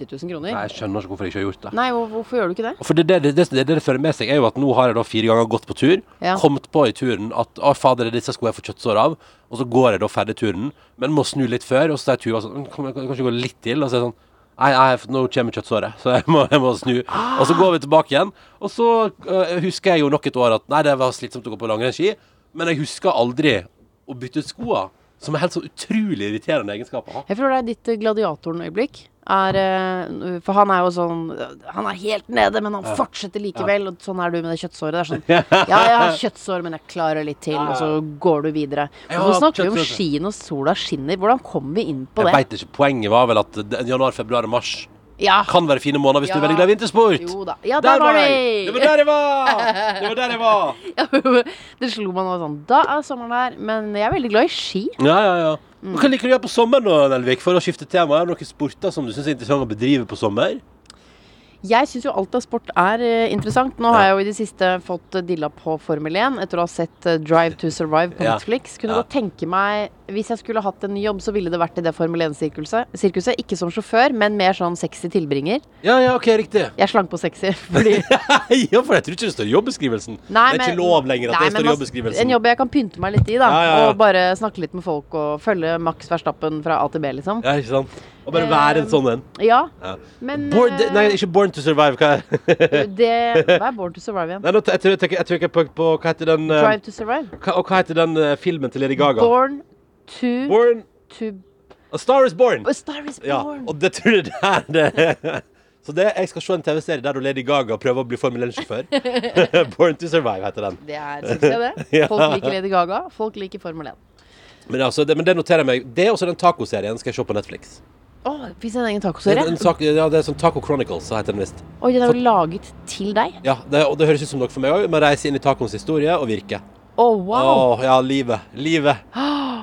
Speaker 4: 4000 kroner?
Speaker 3: Nei, jeg skjønner ikke hvorfor jeg ikke har gjort det.
Speaker 4: Nei, hvor- hvorfor gjør du ikke det?
Speaker 3: Og For det, det, det, det, det det fører med seg, er jo at nå har jeg da fire ganger gått på tur,
Speaker 4: Ja.
Speaker 3: kommet på i turen at å fader, det er disse skoene jeg får kjøttsår av, og så går jeg da ferdig turen, men må snu litt før, og så er turen sånn, kan jeg kanskje gå litt til, og så er jeg sånn, nei, nei, for nå kommer kjøttsåret, så jeg må, jeg må snu. Og så går vi tilbake igjen, og så øh, husker jeg jo nok et år at nei, det var slitsomt å gå på langrennsski, men jeg husker aldri å bytte ut skoene, som er helt så utrolig irriterende egenskap å ha.
Speaker 4: Jeg tror det er ditt eh, gladiatoren-øyeblikk. Er, eh, for han er jo sånn eh, Han er helt nede, men han fortsetter likevel. Og sånn er du med det kjøttsåret.
Speaker 3: <laughs>
Speaker 4: Det er sånn Ja, jeg har kjøttsår, men jeg klarer litt til. Og så går du videre.
Speaker 3: Jeg
Speaker 4: Hvorfor
Speaker 3: har
Speaker 4: snakker vi om
Speaker 3: kjøttsår.
Speaker 4: ski når sola skinner? Hvordan kom vi inn på
Speaker 3: Jeg
Speaker 4: det?
Speaker 3: vet ikke, poenget var vel at det- januar, februar og mars
Speaker 4: Ja.
Speaker 3: kan være fine måneder hvis du er
Speaker 4: Ja.
Speaker 3: veldig glad i vintersport.
Speaker 4: Jo da. Ja, der var
Speaker 3: jeg! Det var
Speaker 4: <laughs> vi!
Speaker 3: der jeg var! Det var der jeg var!
Speaker 4: Det slo meg nå sånn. Da er sommeren her. Men jeg er veldig glad i ski.
Speaker 3: <laughs> Ja, ja, ja. Hva liker du å gjøre på sommeren, da, Nelvik? For å skifte tema, er det noen sporter som du syns er interessant å bedrive på sommer?
Speaker 4: Jeg syns jo alt av sport er eh, interessant. Nå har jeg jo i det siste fått eh, dilla på Formel 1 etter å ha sett eh, Drive to Survive på
Speaker 3: Ja.
Speaker 4: Netflix. Kunne
Speaker 3: Ja.
Speaker 4: godt tenke meg, hvis jeg skulle hatt en ny jobb, så ville det vært i det Formel 1-sirkuset. sirkuset. Ikke som sjåfør, men mer sånn sexy tilbringer.
Speaker 3: Ja, ja, OK, riktig.
Speaker 4: Jeg slang på sexy <laughs> fordi
Speaker 3: <laughs> ja, for jeg tror ikke det står i jobbeskrivelsen. det er ikke lov lenger at
Speaker 4: nei,
Speaker 3: det står i
Speaker 4: men man- En
Speaker 3: jobbeskrivelsen.
Speaker 4: jobb jeg kan pynte meg litt i, da.
Speaker 3: Ja, ja, ja.
Speaker 4: Og bare snakke litt med folk og følge Max Verstappen fra A til B, liksom.
Speaker 3: Ja, ikke sant? Å
Speaker 4: Eh,
Speaker 3: bare være en sånn en.
Speaker 4: Ja,
Speaker 3: Ja.
Speaker 4: men
Speaker 3: Born,
Speaker 4: eh,
Speaker 3: det- nei, ikke Born to Survive. Hva,
Speaker 4: det Hva er Born to Survive igjen?
Speaker 3: <laughs> nei, nå, t- jeg, tror, jeg, tenker- jeg tror ikke på, på Hva heter den, eh,
Speaker 4: Drive to Survive?
Speaker 3: hva, og hva heter den eh, filmen til Lady Gaga?
Speaker 4: Born to,
Speaker 3: Born
Speaker 4: to
Speaker 3: A Star Is Born.
Speaker 4: A Star Is
Speaker 3: Ja,
Speaker 4: Born.
Speaker 3: og det tror jeg det er det. Så det, jeg skal se en TV-serie der Lady Gaga prøver å bli Formel 1-sjåfør. <laughs> Born to Survive heter den.
Speaker 4: Det er suksess, det.
Speaker 3: <laughs> Ja.
Speaker 4: Folk liker Lady Gaga, folk liker Formel 1.
Speaker 3: Men, altså, det, men det noterer jeg meg. Det er også den tacoserien skal jeg se på Netflix.
Speaker 4: Å, fins det en egen
Speaker 3: En,
Speaker 4: tacoserie?
Speaker 3: en sak, ja, det er sånn Taco Chronicles, så heter den visst.
Speaker 4: Oi, den er jo laget til deg.
Speaker 3: Ja, det, og det høres ut som noe for meg òg, men reise inn i tacoens historie og virke.
Speaker 4: Å, wow.
Speaker 3: Åh, ja, livet. Livet.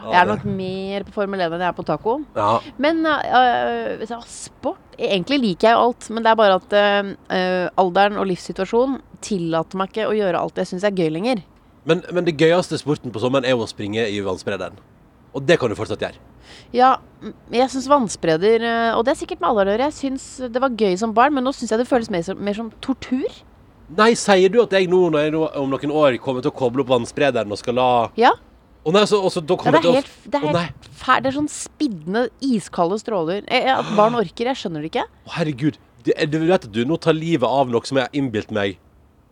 Speaker 4: Jeg er nok mer på Formel 1 enn jeg er på taco.
Speaker 3: Ja.
Speaker 4: Men øh, øh, så sport Egentlig liker jeg jo alt, men det er eh, bare at øh, øh, alderen og livssituasjonen tillater meg ikke å gjøre alt jeg syns er gøy lenger.
Speaker 3: Men, men det gøyeste sporten på sommeren er jo å springe i vannsprederen. Og det kan du fortsatt gjøre.
Speaker 4: Ja, mm, jeg syns vannspreder eh, Og det er sikkert med alle å gjøre. Jeg syns det var gøy som barn, men nå syns jeg det føles mer som, mer som tortur.
Speaker 3: Nei, sier du at jeg nå, når jeg nå om noen år kommer til å koble opp vannsprederen og skal la
Speaker 4: Ja.
Speaker 3: Å nei, så, og så da
Speaker 4: Ja,
Speaker 3: kommer
Speaker 4: det er
Speaker 3: jeg
Speaker 4: helt,
Speaker 3: til å-
Speaker 4: det er
Speaker 3: Å nei.
Speaker 4: helt fæl, det er sånn spidne, iskalde stråler. Jeg, jeg, at barn orker, jeg skjønner det ikke.
Speaker 3: Å, herregud. Du, du vet at du nå tar livet av noe som jeg har innbilt meg.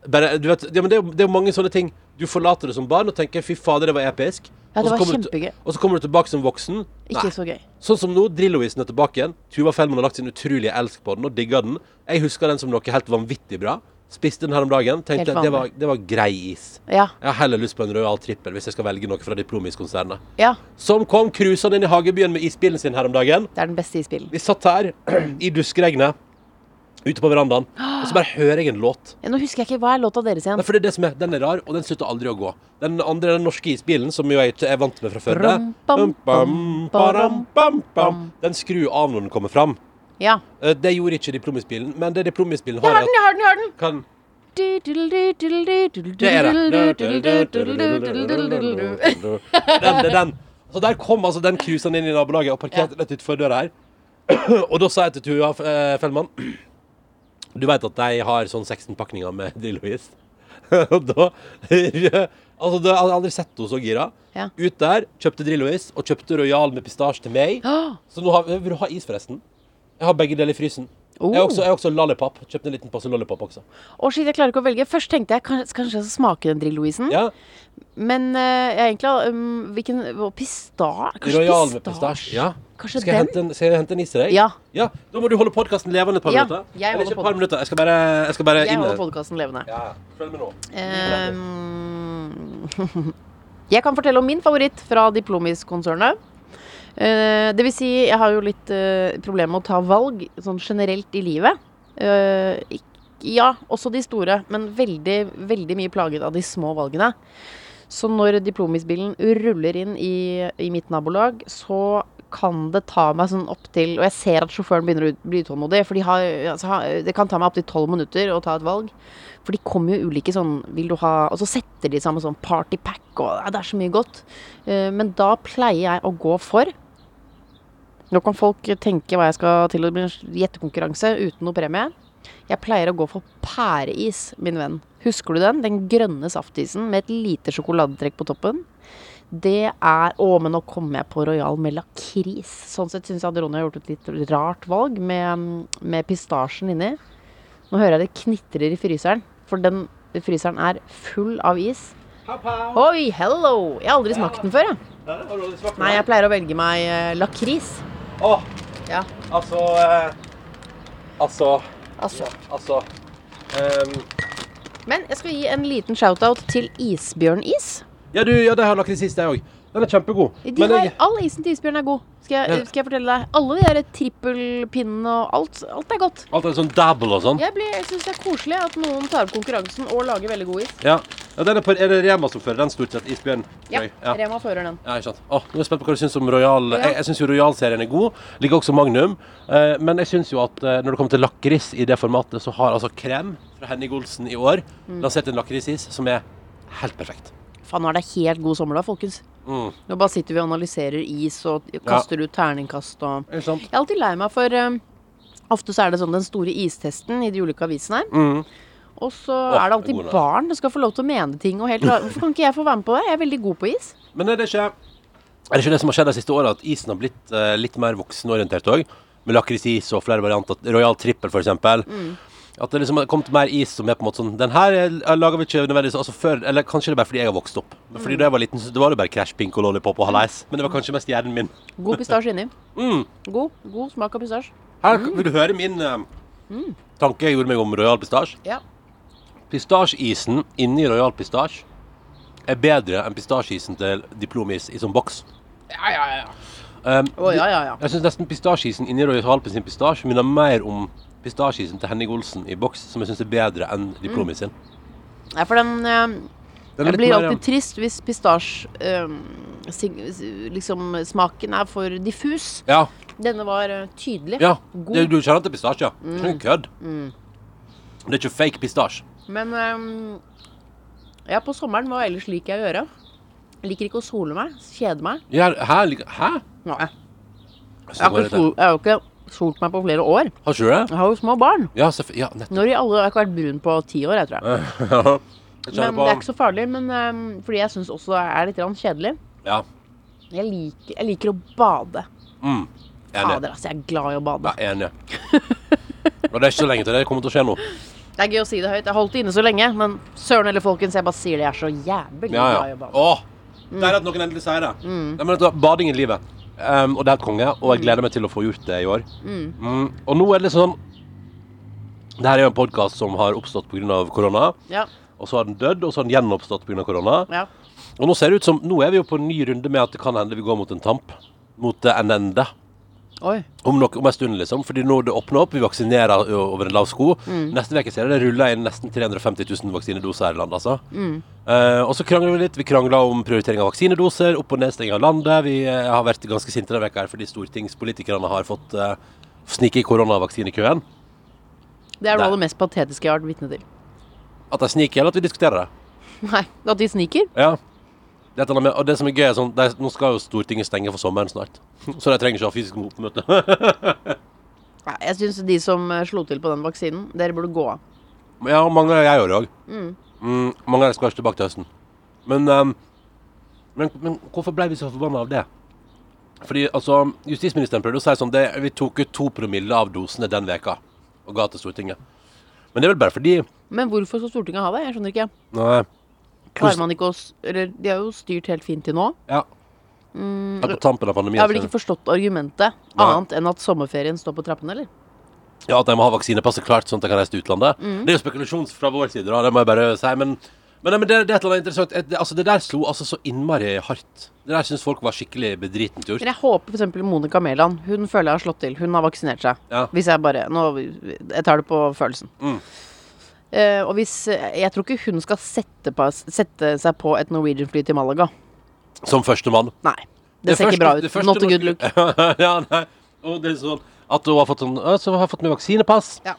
Speaker 3: Bare, du vet, ja, men det, er jo- det er jo mange sånne ting. Du forlater det som barn og tenker 'fy fader, det var episk'.
Speaker 4: Ja,
Speaker 3: Og så
Speaker 4: det var
Speaker 3: kommer du til-
Speaker 4: kjempegøy.
Speaker 3: Og så kommer du tilbake som voksen.
Speaker 4: Ikke
Speaker 3: Nei.
Speaker 4: så gøy.
Speaker 3: Sånn som nå, Drillovisen er tilbake igjen. Tuva Fellman har lagt sin utrolige elsk på den og digga den. Jeg husker den som noe helt vanvittig bra. Spiste den her om dagen.
Speaker 4: Helt
Speaker 3: Tenkte at det var,
Speaker 4: vanlig.
Speaker 3: det var grei is.
Speaker 4: Ja.
Speaker 3: Jeg har heller lyst på en Royal Trippel hvis jeg skal velge noe fra Diplomis-konsernet.
Speaker 4: ja.
Speaker 3: Som kom cruisende inn i hagebyen med isbilen sin her om dagen.
Speaker 4: Det er den beste isbilen.
Speaker 3: Vi satt her <clears throat> i duskregnet ute på verandaen, og så bare hører jeg en låt.
Speaker 4: Ja, Eh, Nå husker jeg ikke hva er låta deres igjen.
Speaker 3: Nei, for det er det som er, Den er rar, og den slutter aldri å gå. Den andre, den norske isbilen, som jo jeg er vant med fra før, det er
Speaker 4: Ram, bam,
Speaker 3: bam, baram, bam, bam. den skrur av når den kommer fram.
Speaker 4: Ja.
Speaker 3: Eh, Det gjorde ikke diplomisbilen, men det diplomisbilen
Speaker 4: Jeg
Speaker 3: har, er
Speaker 4: har den,
Speaker 3: at
Speaker 4: jeg har den! jeg har den
Speaker 3: kan Det er det. <laughs>
Speaker 4: Det
Speaker 3: Den, det er den. Så der kom altså den cruisen inn i nabolaget og parkerte rett utenfor døra her. <clears throat> Og da sa jeg til Tuva eh, Fellmann <clears throat> Du vet at de har sånn 16 pakninger med <laughs> Drillo-is? Og da <laughs> Altså, da hadde jeg aldri sett henne så gira.
Speaker 4: Ja.
Speaker 3: Ut der, kjøpte Drillo-is og kjøpte Royal med pistasje til meg.
Speaker 4: Åh!
Speaker 3: Så nå har, vil du ha is, forresten? Jeg har begge deler i frysen. Jeg har
Speaker 4: Oh.
Speaker 3: også, jeg har også lollipop. Kjøpte en liten passe lollipop også.
Speaker 4: Å, shit, jeg klarer ikke å velge. Først tenkte jeg kanskje, kanskje jeg skal smake den Drillo-isen.
Speaker 3: Ja,
Speaker 4: Men eh, jeg egentlig um, Hvilken å, Pista? Kanskje
Speaker 3: Royal med
Speaker 4: pistasje?
Speaker 3: pistasje. Ja.
Speaker 4: Kanskje
Speaker 3: skal, jeg
Speaker 4: den?
Speaker 3: hente en, skal jeg hente en is til deg?
Speaker 4: Ja.
Speaker 3: ja. Da må du holde podkasten levende et par
Speaker 4: Ja,
Speaker 3: minutter.
Speaker 4: jeg
Speaker 3: Eller
Speaker 4: holder
Speaker 3: ikke et
Speaker 4: pod-
Speaker 3: par minutter. Jeg skal bare, jeg skal bare
Speaker 4: Jeg
Speaker 3: inn
Speaker 4: holder
Speaker 3: her.
Speaker 4: podkasten levende.
Speaker 3: Ja, følg med nå.
Speaker 4: Ehm, Jeg kan fortelle om min favoritt fra Diplomis-konsernet. Eh, Det vil si, jeg har jo litt eh, problemer med å ta valg sånn generelt i livet. Eh, ikk- Ja, også de store, men veldig, veldig mye plaget av de små valgene. Så når Diplomis-bilen ruller inn i, i mitt nabolag, så kan det ta meg sånn opptil Og jeg ser at sjåføren begynner å ut- bli utålmodig, for de har, altså, ha- det kan ta meg opptil tolv minutter å ta et valg. For de kommer jo ulike sånn Vil du ha Og så setter de sammen sånn party pack og ja, det er så mye godt. Eh, Men da pleier jeg å gå for Nå kan folk tenke hva jeg skal til, og det blir en gjettekonkurranse uten noe premie. Jeg pleier å gå for pæreis, min venn. Husker du den? Den grønne saftisen med et lite sjokoladetrekk på toppen. Det er Å, men nå kom jeg på Royal med lakris. Sånn sett syns jeg at Ronny har gjort et litt rart valg med, med pistasjen inni. Nå hører jeg det knitrer i fryseren, for den fryseren er full av is. Oi, hello! Jeg har aldri smakt den før, jeg. Nei, jeg pleier å velge meg eh, lakris.
Speaker 3: Åh,
Speaker 4: Ja,
Speaker 3: altså eh, Altså
Speaker 4: altså.
Speaker 3: Altså ehm,
Speaker 4: Men jeg skal gi en liten shout-out til Isbjørnis.
Speaker 3: Ja, du, ja, det har jeg lagt i sist, jeg òg. Den er kjempegod.
Speaker 4: De
Speaker 3: Men
Speaker 4: har,
Speaker 3: jeg,
Speaker 4: all isen til isbjørn er god. Skal
Speaker 3: Ja.
Speaker 4: jeg, skal jeg fortelle deg. Alle de der trippelpinnene og alt, alt er godt.
Speaker 3: alt er sånn dabble og sånn.
Speaker 4: Jeg, blir- jeg syns det er koselig at noen tar opp konkurransen og lager veldig god is.
Speaker 3: Ja. ja den er, på, er det Rema som fører den, stort sett? Isbjørn?
Speaker 4: Ja,
Speaker 3: Gøy.
Speaker 4: Rema fører den.
Speaker 3: Ja, ikke sant. Åh, nå er jeg spent på hva du syns om Royal.
Speaker 4: Ja.
Speaker 3: Jeg, jeg syns jo Royal-serien er god. Ligger også Magnum. Eh, men jeg syns jo at eh, når det kommer til lakris i det formatet, så har altså Krem fra Henning Olsen i år
Speaker 4: Mm.
Speaker 3: lansert en lakrisis som er helt perfekt.
Speaker 4: Faen, nå er det helt god sommer da, folkens.
Speaker 3: Mm.
Speaker 4: Nå bare sitter vi og analyserer is og kaster ut terningkast og
Speaker 3: Ikke sant?
Speaker 4: Jeg er alltid lei meg for eh, Ofte så er det sånn den store istesten i de ulike avisene.
Speaker 3: Mm.
Speaker 4: Og så er det
Speaker 3: god
Speaker 4: alltid
Speaker 3: idé.
Speaker 4: barn som skal få lov til å mene ting. Og helt,
Speaker 3: <laughs>
Speaker 4: hvorfor kan ikke jeg få være med på det? Jeg er veldig god på is.
Speaker 3: Men er det ikke Er det ikke det som har skjedd de siste åra, at isen har blitt eh, litt mer voksenorientert òg? Med lakrisis og flere varianter. Royal trippel, for eksempel. At det liksom har kommet mer is som er på en måte sånn Den her eh, lager vi ikke nødvendigvis altså før Eller kanskje det er bare fordi jeg har vokst opp. Men Fordi Da jeg var liten, så det var det bare Crash Pink og Lollipop og halais. Men det var kanskje mest hjernen min.
Speaker 4: God pistasje inni.
Speaker 3: Mm.
Speaker 4: God, god smak av pistasje.
Speaker 3: Her vil du høre min eh, tanke jeg gjorde meg om Royal Pistasje.
Speaker 4: Ja.
Speaker 3: Pistasjeisen inni Royal Pistasje er bedre enn pistasjeisen til Diplomis i sånn boks.
Speaker 4: Ja, ja, ja.
Speaker 3: Um,
Speaker 4: Å, ja, ja, ja.
Speaker 3: Jeg syns nesten pistasjeisen inni Royal Halpen sin pistasje minner mer om pistasjeisen til Henning Olsen i boks, som jeg syns er bedre enn Diplomis sin.
Speaker 4: Mm. Nei, for den eh,
Speaker 3: Den er
Speaker 4: Jeg
Speaker 3: litt
Speaker 4: blir
Speaker 3: mer,
Speaker 4: alltid trist hvis pistasje eh, sig- liksom, smaken er for diffus.
Speaker 3: Ja.
Speaker 4: Denne var eh, tydelig.
Speaker 3: ja.
Speaker 4: God. Mm.
Speaker 3: Det, du kjenner til pistasje, ja. Det er ikke noe kødd. Det er ikke fake pistasje.
Speaker 4: Men ehm, Ja, på sommeren, hva ellers liker jeg å gjøre? Liker ikke å sole meg. Kjede meg.
Speaker 3: Ja, hæ? Lik- Hæ?
Speaker 4: Nei. Jeg
Speaker 3: Så
Speaker 4: har
Speaker 3: går
Speaker 4: ikke,
Speaker 3: det til.
Speaker 4: sol, jeg har jo ikke solt meg på flere år.
Speaker 3: Har ikke du det?
Speaker 4: Jeg har jo små barn.
Speaker 3: Ja, selvfø- ja nettopp.
Speaker 4: Når i alle Jeg har ikke vært brun på ti år, jeg tror jeg.
Speaker 3: Jeg kjenner
Speaker 4: Men
Speaker 3: på
Speaker 4: det er ikke så farlig. Men eh, fordi jeg syns også det er litt grann kjedelig.
Speaker 3: Ja.
Speaker 4: Jeg liker, jeg liker å bade.
Speaker 3: Mm. Enig.
Speaker 4: Fader, altså. Jeg er glad i å bade.
Speaker 3: Ja, enig.
Speaker 4: <laughs>
Speaker 3: Og det er ikke så lenge til det kommer til å skje nå.
Speaker 4: Det er gøy å si det høyt. Jeg holdt det inne så lenge, men søren eller folkens, jeg bare sier det. Jeg er så jævlig
Speaker 3: Ja,
Speaker 4: glad
Speaker 3: ja.
Speaker 4: i
Speaker 3: Mm.
Speaker 4: å bade.
Speaker 3: Åh, Deilig at noen endelig sier det. Nei, men vet du hva, Bading er livet. Ehm, og det er helt konge, og jeg gleder meg til å få gjort det i år. Mm. Og nå er det litt sånn Det her er jo en podkast som har oppstått pga. korona.
Speaker 4: Ja,
Speaker 3: Og så har den dødd, og så har den gjenoppstått pga. korona.
Speaker 4: ja.
Speaker 3: Og nå ser det ut som Nå er vi jo på en ny runde med at det kan hende vi går mot en tamp. Mot eh, en ende.
Speaker 4: Oi.
Speaker 3: Om, nok, om en stund, liksom. Fordi nå det åpner opp, vi vaksinerer ø, over en lav sko. Neste uke ser jeg det ruller inn nesten 350 000 vaksinedoser her i landet, altså. Eh, og så krangler vi litt. Vi krangler om prioritering av vaksinedoser, opp- og nedstenging av landet. Vi eh, har vært ganske sinte denne veka her fordi stortingspolitikerne har fått eh, snike i koronavaksinekøen.
Speaker 4: Det er
Speaker 3: Nei.
Speaker 4: noe av det mest patetiske jeg har vært vitne til. <laughs>
Speaker 3: At de sniker, eller at vi diskuterer det.
Speaker 4: Nei, at de sniker.
Speaker 3: Ja. Det er et eller annet med, og det som er gøy, er sånn de, Nå skal jo Stortinget stenge for sommeren snart. <laughs> Så de trenger ikke ha fysisk oppmøte.
Speaker 4: Nei, jeg syns de som eh, slo til på den vaksinen, dere burde gå av.
Speaker 3: Men ja, mange av jeg gjør det òg. Mm, mange av de skal ikke tilbake til høsten. Men, ehm, men, men hvorfor ble vi så forbanna av det? Fordi altså, Justisministeren prøvde å si sånn det, Vi tok ut to promille av dosene den veka og ga til Stortinget. Men det er vel bare fordi
Speaker 4: Men hvorfor skal Stortinget ha det? Jeg skjønner ikke.
Speaker 3: Nei.
Speaker 4: Klarer man ikke å s- Eller de har jo styrt helt fint til nå.
Speaker 3: Ja. Det er på tampen av pandemien.
Speaker 4: Jeg har Mm. vel
Speaker 3: så-
Speaker 4: ikke forstått argumentet
Speaker 3: Nei.
Speaker 4: annet enn at sommerferien står på trappene, eller?
Speaker 3: Ja, at de må ha vaksinepasset klart, sånn at de kan reise til utlandet.
Speaker 4: Mm.
Speaker 3: Det er jo spekulasjon fra vår side, da, det må jeg bare si. Men, men, nei, men det, det er et eller annet interessant. Eh, Det, altså, det der slo altså så innmari hardt. Det der syns folk var skikkelig bedritent gjort.
Speaker 4: Men jeg håper f.eks. Monica Mæland. Hun føler jeg har slått til. Hun har vaksinert seg.
Speaker 3: Ja. Mm.
Speaker 4: Hvis jeg bare Nå Jeg tar det på følelsen. Eh, og hvis Jeg tror ikke hun skal sette, på, sette seg på et Norwegian-fly til Malaga.
Speaker 3: Som førstemann.
Speaker 4: Nei. Det, ser
Speaker 3: første-
Speaker 4: ikke bra ut.
Speaker 3: det første
Speaker 4: Not a good
Speaker 3: norske- <laughs>
Speaker 4: look.
Speaker 3: ja, nei. Og det er sånn at hun har fått sånn «Å, Så har jeg fått med vaksinepass.
Speaker 4: Ja.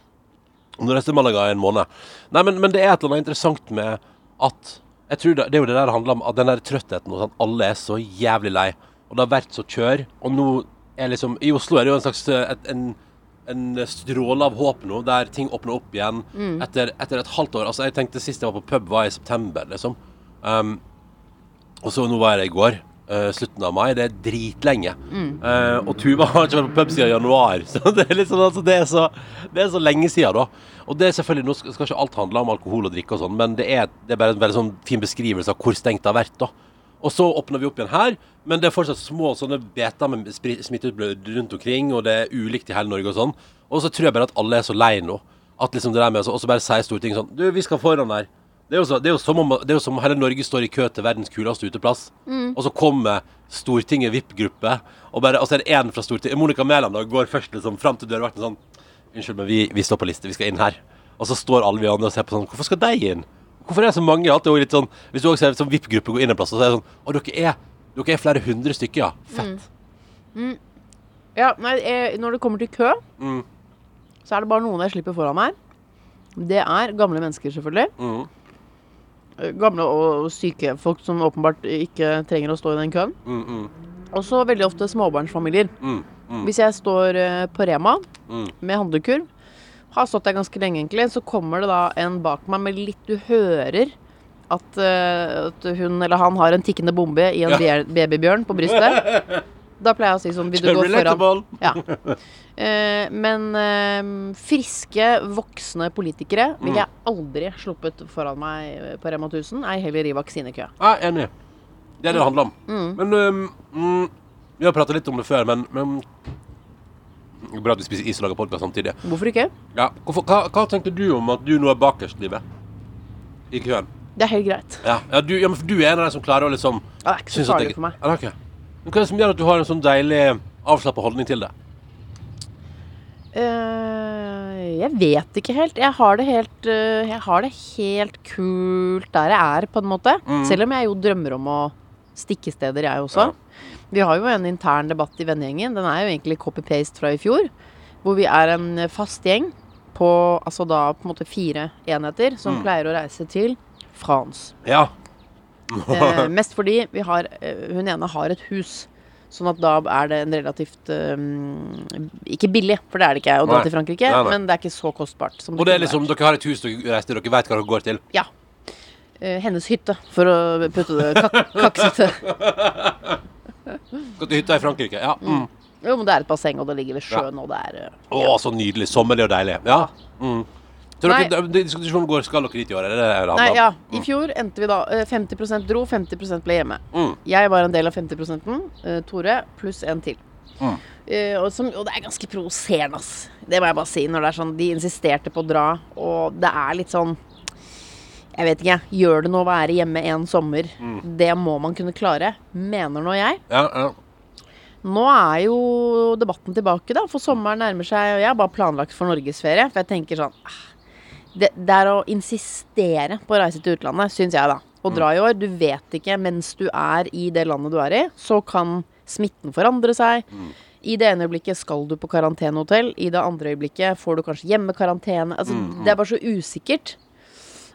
Speaker 3: Og nå reiser Malaga i en måned. Nei, men, men det er et eller annet interessant med at jeg tror det, det er jo det der det handler om, at den der trøttheten og sånn, alle er så jævlig lei. Og det har vært så kjør, og nå er liksom I Oslo er det jo en slags eh, et, en, en stråle av håp nå, der ting åpner opp igjen
Speaker 4: Mm.
Speaker 3: etter, etter et halvt år. Altså, jeg tenkte sist jeg var på pub, var i september, liksom. Um, og så nå var jeg der i går. eh, slutten av mai. Det er dritlenge. Eh, og Tuva har ikke vært på pub siden januar. <laughs> Så det er, liksom, altså, det er, så, det er så lenge siden, da. Og det er selvfølgelig, nå skal skal ikke alt handle om alkohol og drikke og sånn, men det er, det er bare en veldig sånn fin beskrivelse av hvor stengt det har vært, da. Og så åpner vi opp igjen her, men det er fortsatt små sånne beter med spri- smitteutbrudd rundt omkring, og det er ulikt i hele Norge og sånn. Og så tror jeg bare at alle er så lei nå. At liksom det der med å så- Og så bare sier Stortinget sånn Du, vi skal foran her. Det er, jo så, det, er jo som om, det er jo som om hele Norge står i kø til verdens kuleste uteplass. Og så kommer Stortinget VIP-gruppe, og, bare- og så er det én fra Stortinget Monica Mæland da, går først liksom fram til dørvakten sånn Unnskyld, men vi, vi står på liste, vi skal inn her. Og så står alle vi andre og ser på sånn Hvorfor skal de inn? Hvorfor er det så mange? Alt er jo litt sånn Hvis du også ser en sånn VIP-gruppe gå inn en plass, og så er det sånn Å, dere er, dere er flere hundre stykker, ja. Fett.
Speaker 4: Ja, nei, eh, når det kommer til kø, så er det bare noen jeg slipper foran meg. Det er gamle mennesker, selvfølgelig.
Speaker 3: Mhm.
Speaker 4: Eh, Gamle og syke folk som åpenbart ikke trenger å stå i den køen.
Speaker 3: Mm, mm,
Speaker 4: Også veldig ofte småbarnsfamilier.
Speaker 3: mm, mm.
Speaker 4: Hvis jeg står eh, på Rema
Speaker 3: Mm.
Speaker 4: med handlekurv, har stått der ganske lenge egentlig, så kommer det da en bak meg med litt Du hører at, eh, at hun eller han har en tikkende bombe i en
Speaker 3: Ja.
Speaker 4: be- babybjørn på brystet.
Speaker 3: <laughs>
Speaker 4: Da pleier jeg å si sånn Vil du gå foran?
Speaker 3: Relatable.
Speaker 4: Ja. Eh, men eh, friske, voksne politikere ville jeg
Speaker 3: Mm.
Speaker 4: aldri sluppet foran meg eh, på Rema 1000, ei heller i vaksinekø.
Speaker 3: Ja, enig. Det er det det handler om. Men øhm, mm, Vi har prata litt om det før, men, men Bra at vi spiser is og lager podkast samtidig.
Speaker 4: Hvorfor ikke?
Speaker 3: Ja, hvorfor, hva, hva tenker du om at du nå er bakerst, Live? I køen.
Speaker 4: Det er helt greit.
Speaker 3: Ja, ja, du, ja, men for du er en av de som klarer å liksom
Speaker 4: Det er ikke så
Speaker 3: synes at
Speaker 4: farlig
Speaker 3: jeg-
Speaker 4: for meg.
Speaker 3: Ja, det er ikke. Men hva er det som gjør at du har en sånn deilig avslappa holdning til det?
Speaker 4: Eh, jeg vet ikke helt. Jeg har det helt eh, Jeg har det helt kult der jeg er, på en måte. Selv om jeg jo drømmer om å stikke steder, jeg også.
Speaker 3: Ja.
Speaker 4: Vi har jo en intern debatt i vennegjengen. Den er jo egentlig copy-paste fra i fjor. Hvor vi er en fast gjeng på altså da på en måte fire enheter som pleier å reise til France.
Speaker 3: Ja. <laughs>
Speaker 4: Eh, mest fordi vi har, eh, hun ene har et hus. Sånn at da er det en relativt eh, Ikke billig, for det er det ikke å dra
Speaker 3: Nei.
Speaker 4: til Frankrike,
Speaker 3: Nei, nei.
Speaker 4: men det er ikke så kostbart. Som
Speaker 3: Og det er
Speaker 4: kunne
Speaker 3: liksom,
Speaker 4: vært.
Speaker 3: dere har et hus dere reiser til, dere vet hva dere går til.
Speaker 4: Ja. Eh, hennes hytte, for å putte det kak
Speaker 3: <laughs>
Speaker 4: kaksete.
Speaker 3: Går til hytta i Frankrike. Ja. Mm.
Speaker 4: Jo, men det er et basseng, og det ligger ved sjøen, og det er eh,
Speaker 3: Å, så nydelig. Sommerlig og deilig. Ja. Mm. Så
Speaker 4: Nei.
Speaker 3: dere, d- diskusjonen går skal dere dit i år? Er det det det handler
Speaker 4: Nei,
Speaker 3: om?
Speaker 4: ja. I fjor endte vi da eh, 50 dro, 50 ble hjemme.
Speaker 3: Mm.
Speaker 4: Jeg var en del av 50 eh, Tore pluss en til.
Speaker 3: Mm.
Speaker 4: Eh, og, som, og det er ganske provoserende, ass. Det må jeg bare si. Når det er sånn De insisterte på å dra, og det er litt sånn Jeg vet ikke, jeg. Gjør det noe å være hjemme en sommer?
Speaker 3: Mm.
Speaker 4: Det må man kunne klare, mener nå jeg.
Speaker 3: Ja, ja.
Speaker 4: Nå er jo debatten tilbake, da, for sommeren nærmer seg. Og jeg har bare planlagt for norgesferie, for jeg tenker sånn ah, det, det er å insistere på å reise til utlandet, syns jeg, da. Å dra i år. Du vet ikke mens du er i det landet du er i, så kan smitten forandre seg. I det ene øyeblikket skal du på karantenehotell, i det andre øyeblikket får du kanskje hjemmekarantene. Altså, Det er bare så usikkert.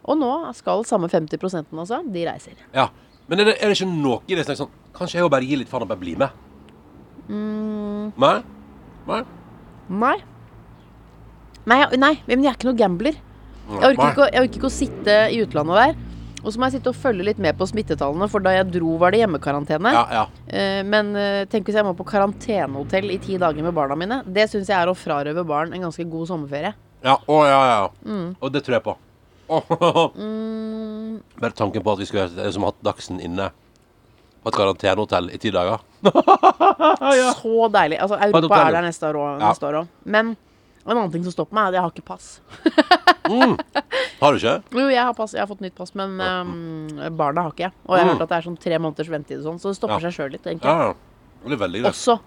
Speaker 4: Og nå skal samme 50 altså, de reiser.
Speaker 3: ja. Men er det, er det ikke noe i det som er sånn Kanskje jeg jo bare gir litt faen og bare blir med?
Speaker 4: Mm.
Speaker 3: Nei? Nei?
Speaker 4: Nei. Nei, jeg- nei, men jeg er ikke noe gambler. Jeg orker, ikke, å- jeg orker ikke å sitte i utlandet der. Og så må jeg sitte og følge litt med på smittetallene, for da jeg dro, var det hjemmekarantene.
Speaker 3: Ja, ja.
Speaker 4: Eh, Men eh, tenk hvis jeg må på karantenehotell i ti dager med barna mine. Det syns jeg er å frarøve barn en ganske god sommerferie.
Speaker 3: Ja, å, ja, ja.
Speaker 4: Mm.
Speaker 3: Og det tror jeg på. Å, <laughs> Bare tanken på at vi skulle ha- liksom, hatt Dagsen inne på et karantenehotell i ti dager.
Speaker 4: Så deilig. Altså,
Speaker 3: Hotell,
Speaker 4: Europa
Speaker 3: ja.
Speaker 4: er der neste år òg.
Speaker 3: Ja.
Speaker 4: Men en annen ting som stopper meg, er at jeg har ikke pass.
Speaker 3: Har du ikke?
Speaker 4: Jo, jeg har pass, jeg har fått nytt pass, men eh, barna har ikke jeg. Og jeg har hørt at det er sånn tre måneders ventetid og sånn, så det stopper
Speaker 3: Mm. Ja.
Speaker 4: seg sjøl litt, egentlig.
Speaker 3: Ja, ja. Det blir veldig greit.
Speaker 4: også.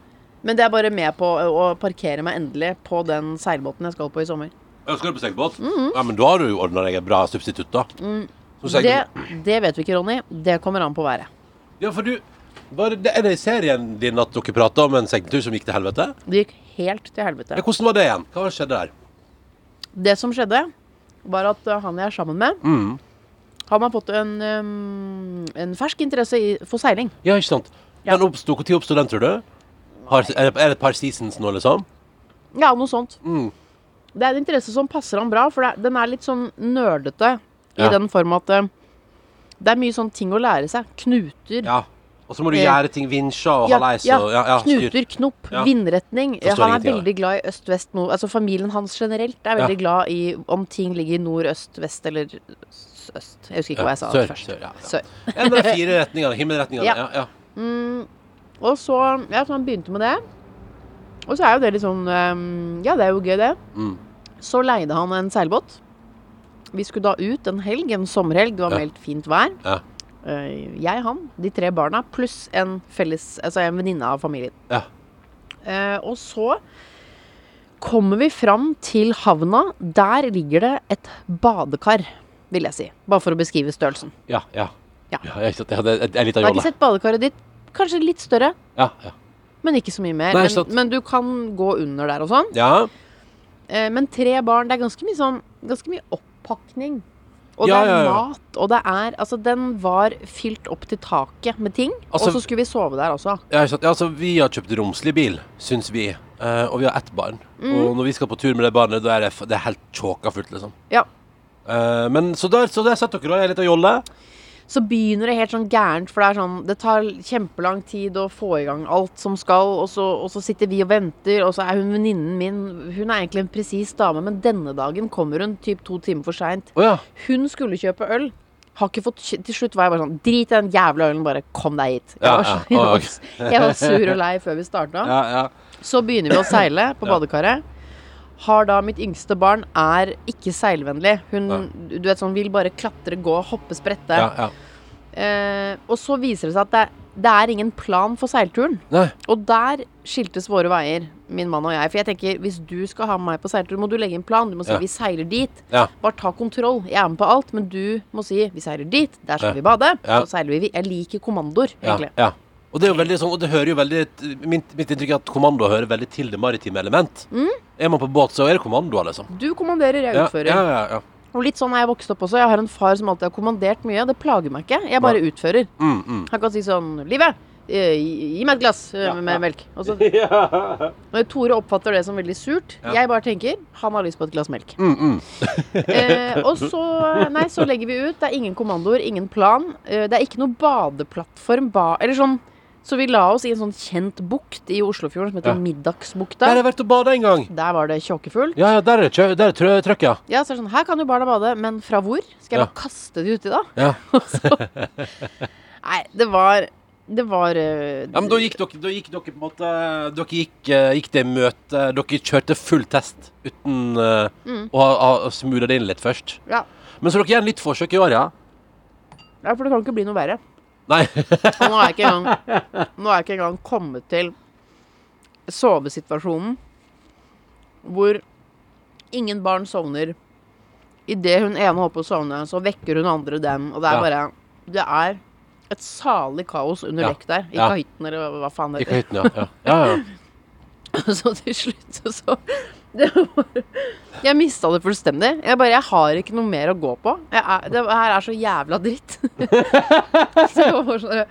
Speaker 4: Men det er bare med på å å parkere meg endelig på den seilbåten jeg skal på i sommer.
Speaker 3: Ja, Skal du på seilbåt?
Speaker 4: Mm.
Speaker 3: Ja, men da har du jo ordna deg et bra substitutt, da. Som seilbåt.
Speaker 4: Det, det vet vi ikke, Ronny. Det kommer an på været.
Speaker 3: Ja, for du var det, Er det i serien din at dere prata om en seiltur som gikk til helvete?
Speaker 4: Det gikk helt til
Speaker 3: Ja,
Speaker 4: helvete.
Speaker 3: hvordan var det igjen? Hva skjedde der?
Speaker 4: Det som skjedde, var at uh, han jeg er sammen med,
Speaker 3: Mm.
Speaker 4: han har fått en, um, en fersk interesse i, for seiling.
Speaker 3: Ja, ikke sant?
Speaker 4: Ja.
Speaker 3: Den oppsto, Når oppsto den, tror du? Har, er, det, er det et par seasons nå, liksom?
Speaker 4: Ja, noe sånt.
Speaker 3: Mm.
Speaker 4: Det er en interesse som passer ham bra, for det er, den er litt sånn nerdete i
Speaker 3: Ja.
Speaker 4: den form at uh, det er mye sånn ting å lære seg. Knuter,
Speaker 3: Ja. Og så må du
Speaker 4: Eh,
Speaker 3: gjøre ting, vinsja og halleis
Speaker 4: ja,
Speaker 3: og ja, ja, styr.
Speaker 4: Knuter, knopp,
Speaker 3: Ja.
Speaker 4: vindretning.
Speaker 3: Forstår
Speaker 4: Han er
Speaker 3: ingenting av
Speaker 4: veldig glad i øst-vest nord... Altså familien hans generelt er veldig
Speaker 3: Ja.
Speaker 4: glad i om ting ligger i nord, øst, vest eller s- øst. Jeg husker ikke
Speaker 3: Ja,
Speaker 4: hva jeg sa
Speaker 3: sør,
Speaker 4: først.
Speaker 3: sør, ja, ja.
Speaker 4: Sør.
Speaker 3: En av de fire retningene, himmelretningene.
Speaker 4: Ja.
Speaker 3: Ja. Ja,
Speaker 4: Og så Ja, så han begynte med det. Og så er jo det litt sånn ehm, Ja, det er jo gøy, det.
Speaker 3: Mm.
Speaker 4: Så leide han en seilbåt. Vi skulle da ut en helg, en sommerhelg. Det var
Speaker 3: Ja.
Speaker 4: meldt fint vær.
Speaker 3: Ja.
Speaker 4: Eh, Jeg, han, de tre barna, pluss en felles Altså en venninne av familien.
Speaker 3: Ja.
Speaker 4: Eh, og så kommer vi fram til havna. Der ligger det et badekar, vil jeg si. Bare for å beskrive størrelsen.
Speaker 3: ja. ja.
Speaker 4: Ja.
Speaker 3: ja jeg, jeg hadde en- en liten
Speaker 4: Jeg har ikke
Speaker 3: jolle.
Speaker 4: sett badekaret ditt. Kanskje litt større,
Speaker 3: Ja, ja.
Speaker 4: men ikke så mye mer.
Speaker 3: Nei, ikke sant.
Speaker 4: men, men du kan gå under der og sånn.
Speaker 3: ja.
Speaker 4: Eh, men tre barn, det er ganske mye sånn Ganske mye oppakning. Og
Speaker 3: Ja,
Speaker 4: det er
Speaker 3: ja, ja.
Speaker 4: mat, og det er Altså, den var fylt opp til taket med ting.
Speaker 3: Altså-
Speaker 4: og så skulle vi sove der også.
Speaker 3: Ja, ikke sant? Ja, altså, vi har kjøpt romslig bil, syns vi. Eh, og vi har ett barn.
Speaker 4: Mm.
Speaker 3: Og når vi skal på tur med det barnet, da er det, f- det er helt tjåka fullt, liksom.
Speaker 4: Ja.
Speaker 3: Eh, men så der, så der satt dere, da. Ei lita jolle.
Speaker 4: Så begynner det helt sånn gærent, for det er sånn Det tar kjempelang tid å få i gang alt som skal, og så, og så sitter vi og venter, og så er hun venninnen min Hun er egentlig en presis dame, men denne dagen kommer hun typ to timer for seint.
Speaker 3: Å ja.
Speaker 4: Hun skulle kjøpe øl. Har ikke fått kjø til slutt var jeg bare sånn Drit i den jævla ølen, bare kom deg hit. Jeg
Speaker 3: Ja,
Speaker 4: var,
Speaker 3: ja.
Speaker 4: så, <laughs>
Speaker 3: Å,
Speaker 4: jeg var, jeg var sur og lei før vi starta.
Speaker 3: ja, ja.
Speaker 4: Så begynner vi å seile på badekaret. Har da mitt yngste barn er ikke seilvennlig. Hun du vet sånn, vil bare klatre, gå, hoppe, sprette.
Speaker 3: ja, ja.
Speaker 4: Eh, og så viser det seg at det, det er ingen plan for seilturen.
Speaker 3: Nei.
Speaker 4: Og der skiltes våre veier, min mann og jeg. For jeg tenker, hvis du skal ha med meg på seiltur, må du legge en plan. Du må si
Speaker 3: Ja.
Speaker 4: 'vi seiler dit'.
Speaker 3: Ja.
Speaker 4: Bare ta kontroll. Jeg er med på alt, men du må si 'vi seiler dit'. Der skal
Speaker 3: Ja.
Speaker 4: vi bade.
Speaker 3: Ja.
Speaker 4: Så seiler vi. Jeg liker kommandoer,
Speaker 3: Ja,
Speaker 4: egentlig.
Speaker 3: ja. Og det er jo veldig sånn, og det hører jo veldig Mitt, mitt inntrykk er at kommando hører veldig til det maritime element. Er man på båt, så er det kommando, liksom.
Speaker 4: Du kommanderer, Mm. jeg
Speaker 3: Ja,
Speaker 4: utfører.
Speaker 3: ja, ja, ja.
Speaker 4: Og litt sånn er jeg vokst opp også. Jeg har en far som alltid har kommandert mye. Det plager meg ikke. Jeg bare utfører.
Speaker 3: Mm, mm.
Speaker 4: Han kan si sånn Livet! eh, Gi gi meg et glass eh,
Speaker 3: Ja,
Speaker 4: med
Speaker 3: ja.
Speaker 4: med melk. Og
Speaker 3: <laughs>
Speaker 4: så,
Speaker 3: Ja.
Speaker 4: og Tore oppfatter det som veldig surt.
Speaker 3: Ja.
Speaker 4: Jeg bare tenker han har lyst på et glass melk.
Speaker 3: Mm, mm.
Speaker 4: Eh, og så, nei, så legger vi ut. Det er ingen kommandoer, ingen plan. Eh, det er ikke noe badeplattform. Ba eller sånn. Så vi la oss i en sånn kjent bukt i Oslofjorden som heter
Speaker 3: Ja. Der
Speaker 4: Middagsbukta.
Speaker 3: har jeg vært og bada en gang.
Speaker 4: Der var det tjåkefullt.
Speaker 3: Ja, ja, der er, kjø- der er trø trøkk, ja.
Speaker 4: Ja, så er det sånn, her kan jo barna bade, men fra hvor? Skal jeg
Speaker 3: Ja.
Speaker 4: bare kaste de uti da?
Speaker 3: ja.
Speaker 4: Nei, det var Det var eh,
Speaker 3: Ja, men da gikk dere, da gikk dere på en måte Dere gikk, eh, gikk det møtet Dere kjørte full test uten eh, å ha- ha smoothet det inn litt først.
Speaker 4: ja.
Speaker 3: Men så dere gjør en litt forsøk i år, ja?
Speaker 4: ja, for det kan ikke bli noe verre.
Speaker 3: Nei. <laughs>
Speaker 4: Og nå er jeg ikke engang, nå er jeg ikke engang kommet til sovesituasjonen hvor ingen barn sovner. Idet hun ene holder på å sovne, så vekker hun andre den, og det er
Speaker 3: Ja.
Speaker 4: bare Det er et salig kaos under
Speaker 3: Ja.
Speaker 4: dekk der. I
Speaker 3: Ja.
Speaker 4: kahytten, eller hva faen det
Speaker 3: I
Speaker 4: heter.
Speaker 3: kahytten, ja. Ja, ja. ja.
Speaker 4: <laughs> Så til slutt så det var, Jeg mista det fullstendig. Jeg bare, jeg har ikke noe mer å gå på. Jeg er, det her er så jævla dritt. <laughs> så jeg var bare sånn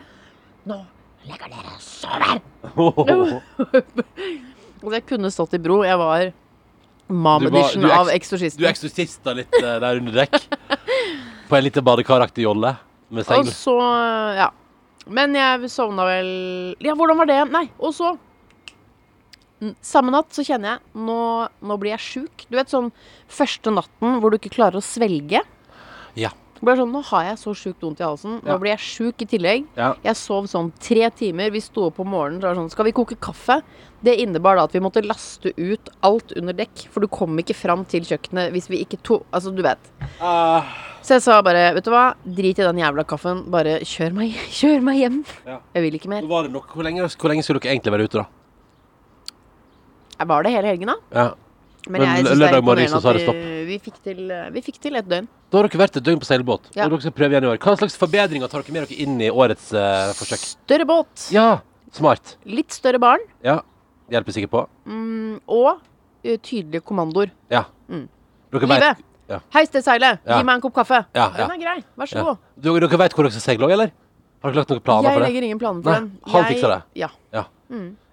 Speaker 4: Nå legger dere og sover! Altså, jeg kunne stått i bro. Jeg var
Speaker 3: Du var-
Speaker 4: mom-edition
Speaker 3: du er
Speaker 4: av
Speaker 3: eks- Du
Speaker 4: Eksorsisten.
Speaker 3: eksorsister litt eh, der under dekk. På en liten badekaraktig jolle med
Speaker 4: Og
Speaker 3: seil.
Speaker 4: så Ja. Men jeg sovna vel Ja, hvordan var det? Nei, og så N- Samme natt så kjenner jeg Nå, nå blir jeg sjuk. Du vet sånn første natten hvor du ikke klarer å svelge.
Speaker 3: Ja.
Speaker 4: Du Bare sånn, Nå har jeg så sjukt vondt i halsen.
Speaker 3: Ja.
Speaker 4: Nå blir jeg sjuk i tillegg.
Speaker 3: Ja.
Speaker 4: Jeg sov sånn tre timer. Vi sto opp om morgenen så var det sånn Skal vi koke kaffe? Det innebar da at vi måtte laste ut alt under dekk. For du kom ikke fram til kjøkkenet hvis vi ikke to Altså, du vet.
Speaker 3: Eh,
Speaker 4: Så jeg sa bare, vet du hva, drit i den jævla kaffen, bare kjør meg, <laughs> kjør meg hjem.
Speaker 3: Ja.
Speaker 4: Jeg vil ikke mer.
Speaker 3: Nå var det nok. Hvor lenge, hvor lenge skulle dere egentlig være ute, da?
Speaker 4: Jeg var det hele helgen da,
Speaker 3: Ja.
Speaker 4: men,
Speaker 3: Men
Speaker 4: jeg synes
Speaker 3: l-
Speaker 4: det er
Speaker 3: lørdag morgen
Speaker 4: imponerende
Speaker 3: så sa det
Speaker 4: at vi, vi, fikk til, vi fikk til et døgn.
Speaker 3: Da har dere vært et døgn på seilbåt.
Speaker 4: Ja.
Speaker 3: Og dere skal prøve igjen i år. Hva slags forbedringer tar dere med dere inn i årets eh, forsøk?
Speaker 4: Større båt,
Speaker 3: Ja, smart.
Speaker 4: litt større barn,
Speaker 3: Ja, hjelper sikkert på.
Speaker 4: og eh, tydelige kommandoer.
Speaker 3: Ja. Dere
Speaker 4: Mm. Livet!
Speaker 3: vet- Ja.
Speaker 4: Heis det seilet,
Speaker 3: Ja.
Speaker 4: gi meg en kopp kaffe.
Speaker 3: Ja, ja.
Speaker 4: Den er grei, vær så
Speaker 3: Ja.
Speaker 4: god.
Speaker 3: Dere, dere vet hvor dere skal seile òg, eller? Har dere lagt noen planer
Speaker 4: Jeg Mm.
Speaker 3: for det?
Speaker 4: legger ingen
Speaker 3: Nei,
Speaker 4: planer for den.
Speaker 3: han
Speaker 4: Jeg-
Speaker 3: fikser det.
Speaker 4: Ja.
Speaker 3: Ja.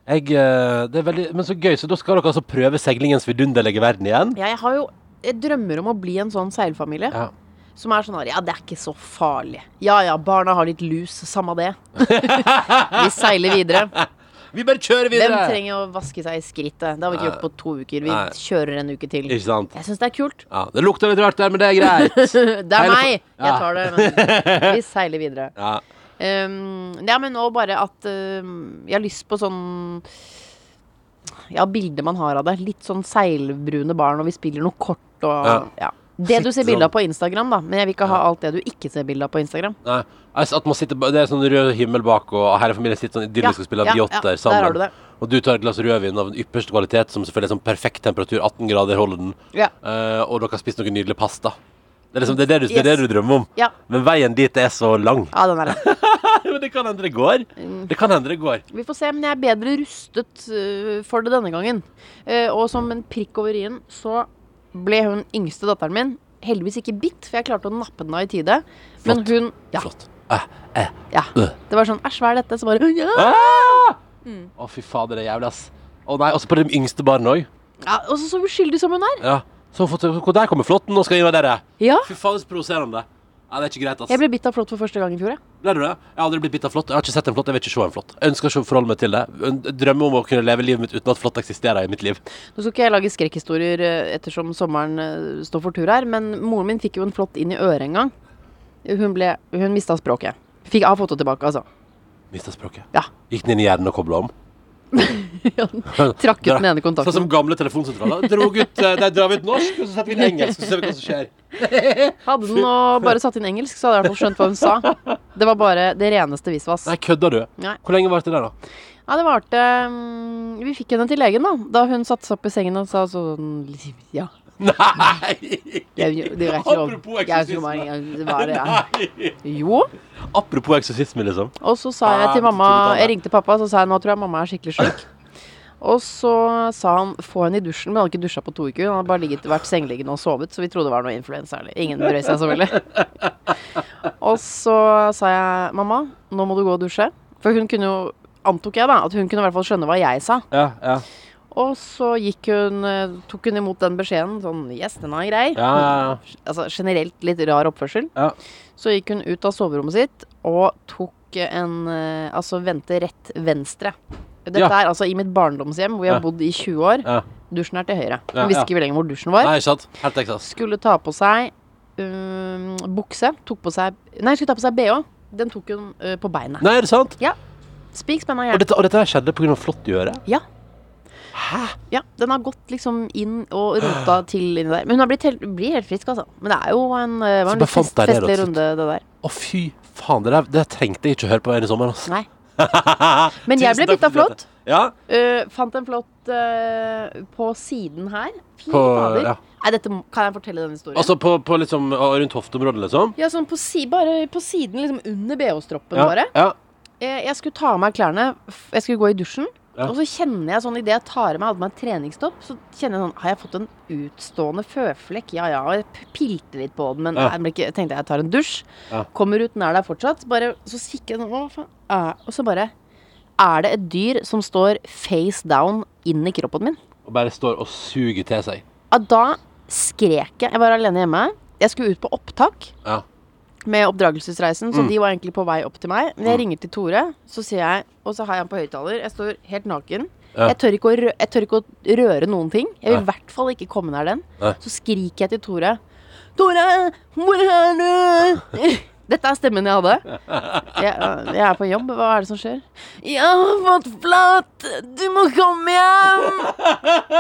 Speaker 3: Jeg, eh, det er veldig, men så gøy, så da skal dere altså prøve seilingens vidunderlige verden igjen?
Speaker 4: Ja, Jeg har jo, jeg drømmer om å bli en sånn seilfamilie.
Speaker 3: Ja.
Speaker 4: Som er sånn her, ja, det er ikke så farlig. Ja ja, barna har litt lus, samme
Speaker 3: <laughs>
Speaker 4: det. vi seiler videre.
Speaker 3: Vi bare kjører
Speaker 4: Hvem
Speaker 3: videre!
Speaker 4: trenger å vaske seg i skrittet? Det har vi ikke gjort på to uker. Vi
Speaker 3: Nei.
Speaker 4: kjører en uke til.
Speaker 3: Ikke sant?
Speaker 4: Jeg syns det er kult. <laughs>
Speaker 3: Ja, det lukter litt rart der, men det er greit.
Speaker 4: Det er
Speaker 3: Hele
Speaker 4: meg!
Speaker 3: for-
Speaker 4: Jeg
Speaker 3: Ja.
Speaker 4: tar det,
Speaker 3: <laughs>
Speaker 4: men vi seiler videre.
Speaker 3: ja.
Speaker 4: Um, ja, men nå bare at um, jeg har lyst på sånn Ja, bilder man har av det. Litt sånn seilbrune barn, og vi spiller noe kort og
Speaker 3: Ja.
Speaker 4: ja. Det
Speaker 3: Sitter
Speaker 4: du ser bilde
Speaker 3: sånn.
Speaker 4: av på Instagram, da. Men jeg vil ikke ha alt det du ikke ser bilde av på Instagram.
Speaker 3: Nei, altså at man sitter, ba- Det er sånn rød himmel bak, og hele familien sitter sånn idyllisk
Speaker 4: Ja,
Speaker 3: og spiller
Speaker 4: ja,
Speaker 3: biott
Speaker 4: ja,
Speaker 3: der
Speaker 4: der har du
Speaker 3: sammen.
Speaker 4: det.
Speaker 3: og du tar et glass rødvin av den ypperste kvalitet, som selvfølgelig er sånn perfekt temperatur, 18 grader holder den,
Speaker 4: Ja.
Speaker 3: Eh, og dere har spist noe nydelig pasta. Det er, liksom, det, er det, du, det er det
Speaker 4: Yes.
Speaker 3: du drømmer om.
Speaker 4: Ja.
Speaker 3: Men veien dit er så lang. <laughs>
Speaker 4: Ja, den er det.
Speaker 3: Men det kan hende det går.
Speaker 4: Mm.
Speaker 3: Det kan hende det går.
Speaker 4: Vi får se, men jeg er bedre rustet øh, for det denne gangen. Eh, og som en prikk over i-en, så ble hun yngste datteren min heldigvis ikke bitt, for jeg klarte å nappe den av i tide. Men
Speaker 3: Flott.
Speaker 4: hun Ja.
Speaker 3: Flott. Eh, eh.
Speaker 4: ja.
Speaker 3: Øh.
Speaker 4: Det var sånn Æsj, hva er dette? Så bare ja.
Speaker 3: Ah!
Speaker 4: Mm.
Speaker 3: Å, fy fader, det er jævlig, ass. Å nei, også på de yngste barna òg.
Speaker 4: ja. Og så så uskyldig som hun er.
Speaker 3: Ja. Så hun fått- hvor der kommer flåtten, nå skal jeg invadere.
Speaker 4: Ja.
Speaker 3: Fy fader, så provoserende. Nei, det er ikke greit, ass.
Speaker 4: Jeg ble bitt av flått for første gang i fjor, jeg.
Speaker 3: Ble du det? Jeg har aldri blitt bitt av flått. Jeg har ikke sett en flått, jeg vil ikke se en flått. Jeg ønsker ikke å forholde meg til det. Jeg drømmer om å kunne leve livet mitt uten at flått eksisterer i mitt liv.
Speaker 4: Nå skal ikke jeg lage skrekkhistorier eh, ettersom sommeren eh, står for tur her, men moren min fikk jo en flått inn i øret en gang. Hun, ble, hun mista språket. Fikk, jeg har fått det tilbake, altså.
Speaker 3: Mista språket. <laughs>
Speaker 4: Ja.
Speaker 3: Gikk den inn i hjernen og kobla om?
Speaker 4: Trakk ut den ene kontakten.
Speaker 3: Sånn som gamle telefonsentraler. Drog ut, eh, Der drar vi ut norsk, og så setter vi inn engelsk, og så ser vi hva som skjer.
Speaker 4: Hadde den og bare satt inn engelsk, så hadde jeg i hvert fall skjønt hva hun sa. Det var bare det reneste visvas.
Speaker 3: Nei, kødder du?
Speaker 4: Nei.
Speaker 3: Hvor lenge varte det, da?
Speaker 4: Ja, det varte mm, Vi fikk henne til legen, da. Da hun satte seg opp i sengen og sa sånn Ja.
Speaker 3: Nei!
Speaker 4: Jeg, det er ikke lov.
Speaker 3: Apropos
Speaker 4: Jeg er ikke
Speaker 3: eksorsisme.
Speaker 4: lov. Det var det. ja.
Speaker 3: Nei!
Speaker 4: Jo.
Speaker 3: Apropos eksorsisme, liksom.
Speaker 4: Og så sa jeg
Speaker 3: Ah, det
Speaker 4: til
Speaker 3: tok litt
Speaker 4: mamma
Speaker 3: av det. <laughs>
Speaker 4: Jeg ringte pappa, så sa jeg nå tror jeg mamma er skikkelig sjuk. Og så sa han få henne i dusjen, men han hadde ikke dusja på to uker. Han hadde bare ligget, vært sengeliggende og sovet, så vi trodde det var noe influensa. eller- Ingen brød seg så veldig.
Speaker 3: <laughs>
Speaker 4: Og så sa jeg mamma, nå må du gå og dusje. For hun kunne jo, antok jeg da, at hun kunne i hvert fall skjønne hva jeg sa.
Speaker 3: Ja, ja.
Speaker 4: Og så gikk hun, eh, tok hun imot den beskjeden sånn Yes, den var grei.
Speaker 3: Ja, ja, ja.
Speaker 4: Altså generelt litt rar oppførsel.
Speaker 3: Ja.
Speaker 4: Så gikk hun ut av soverommet sitt og tok en eh, Altså vendte rett venstre. Dette
Speaker 3: Ja.
Speaker 4: er altså i mitt barndomshjem hvor jeg
Speaker 3: Ja.
Speaker 4: har bodd i 20 år.
Speaker 3: Ja.
Speaker 4: Dusjen er til høyre. Hun
Speaker 3: Ja,
Speaker 4: visste
Speaker 3: ja.
Speaker 4: ikke lenger hvor dusjen var.
Speaker 3: Nei, ikke sant? Helt Texas.
Speaker 4: Skulle ta på seg um, bukse. Tok på seg Nei, skulle ta på seg bh. Den tok hun eh, på beinet.
Speaker 3: Nei, er det sant?
Speaker 4: Spik spenna
Speaker 3: Og
Speaker 4: jern.
Speaker 3: dette, og dette her skjedde pga. flått i øret?
Speaker 4: Ja.
Speaker 3: Hæ?
Speaker 4: Ja, den har gått liksom inn og rota til inni der. Men hun har blitt helt, blir helt frisk, altså. Men det er jo en, eh,
Speaker 3: Så
Speaker 4: var en litt
Speaker 3: befant
Speaker 4: fest,
Speaker 3: deg det,
Speaker 4: festlig
Speaker 3: rett og slett.
Speaker 4: runde, det der.
Speaker 3: Å, fy faen. Det der det der trengte jeg ikke å høre på en i sommer. Altså. <laughs>
Speaker 4: Nei. Men jeg
Speaker 3: Tusen
Speaker 4: ble
Speaker 3: takk
Speaker 4: bitt av
Speaker 3: for dette.
Speaker 4: flått.
Speaker 3: Ja.
Speaker 4: Eh, fant en flått eh, på siden her. Fy
Speaker 3: På,
Speaker 4: fader.
Speaker 3: ja.
Speaker 4: Nei, dette må- kan jeg fortelle denne historien.
Speaker 3: Altså på, på liksom, og rundt hofteområdet, liksom?
Speaker 4: ja, sånn på si, bare på siden, liksom under bh-stroppen
Speaker 3: Ja.
Speaker 4: bare.
Speaker 3: ja.
Speaker 4: Eh, Jeg skulle ta av meg klærne, f- jeg skulle gå i dusjen.
Speaker 3: Ja.
Speaker 4: Og så kjenner jeg sånn, idet jeg tar av meg hadde meg en treningstopp, så kjenner jeg sånn Har jeg fått en utstående føflekk? Ja ja. Og jeg p- pilte litt på den, men
Speaker 3: Ja.
Speaker 4: jeg ble ikke, tenkte jeg tar en dusj.
Speaker 3: Ja.
Speaker 4: Kommer ut, den er der fortsatt. Bare, så kikker jeg sånn Hva faen? er- Og så bare Er det et dyr som står face down inn i kroppen min?
Speaker 3: Og bare står og suger til seg.
Speaker 4: Ja, da skrek jeg. Jeg var alene hjemme. Jeg skulle ut på opptak
Speaker 3: Ja.
Speaker 4: med oppdragelsesreisen, så
Speaker 3: Mm.
Speaker 4: de var egentlig på vei opp til meg. Men jeg ringer til Tore, så sier jeg Og så har jeg han på høyttaler. Jeg står helt naken.
Speaker 3: Ja.
Speaker 4: Jeg, tør ikke å rø jeg tør ikke å røre noen ting. Jeg vil i hvert fall ikke komme nær den.
Speaker 3: Nei.
Speaker 4: Så skriker jeg til Tore. Tore, hvor er du? <laughs> Dette er stemmen jeg hadde. Jeg, jeg er på jobb. Hva er det som skjer? Jeg har fått flatt! Du må komme hjem!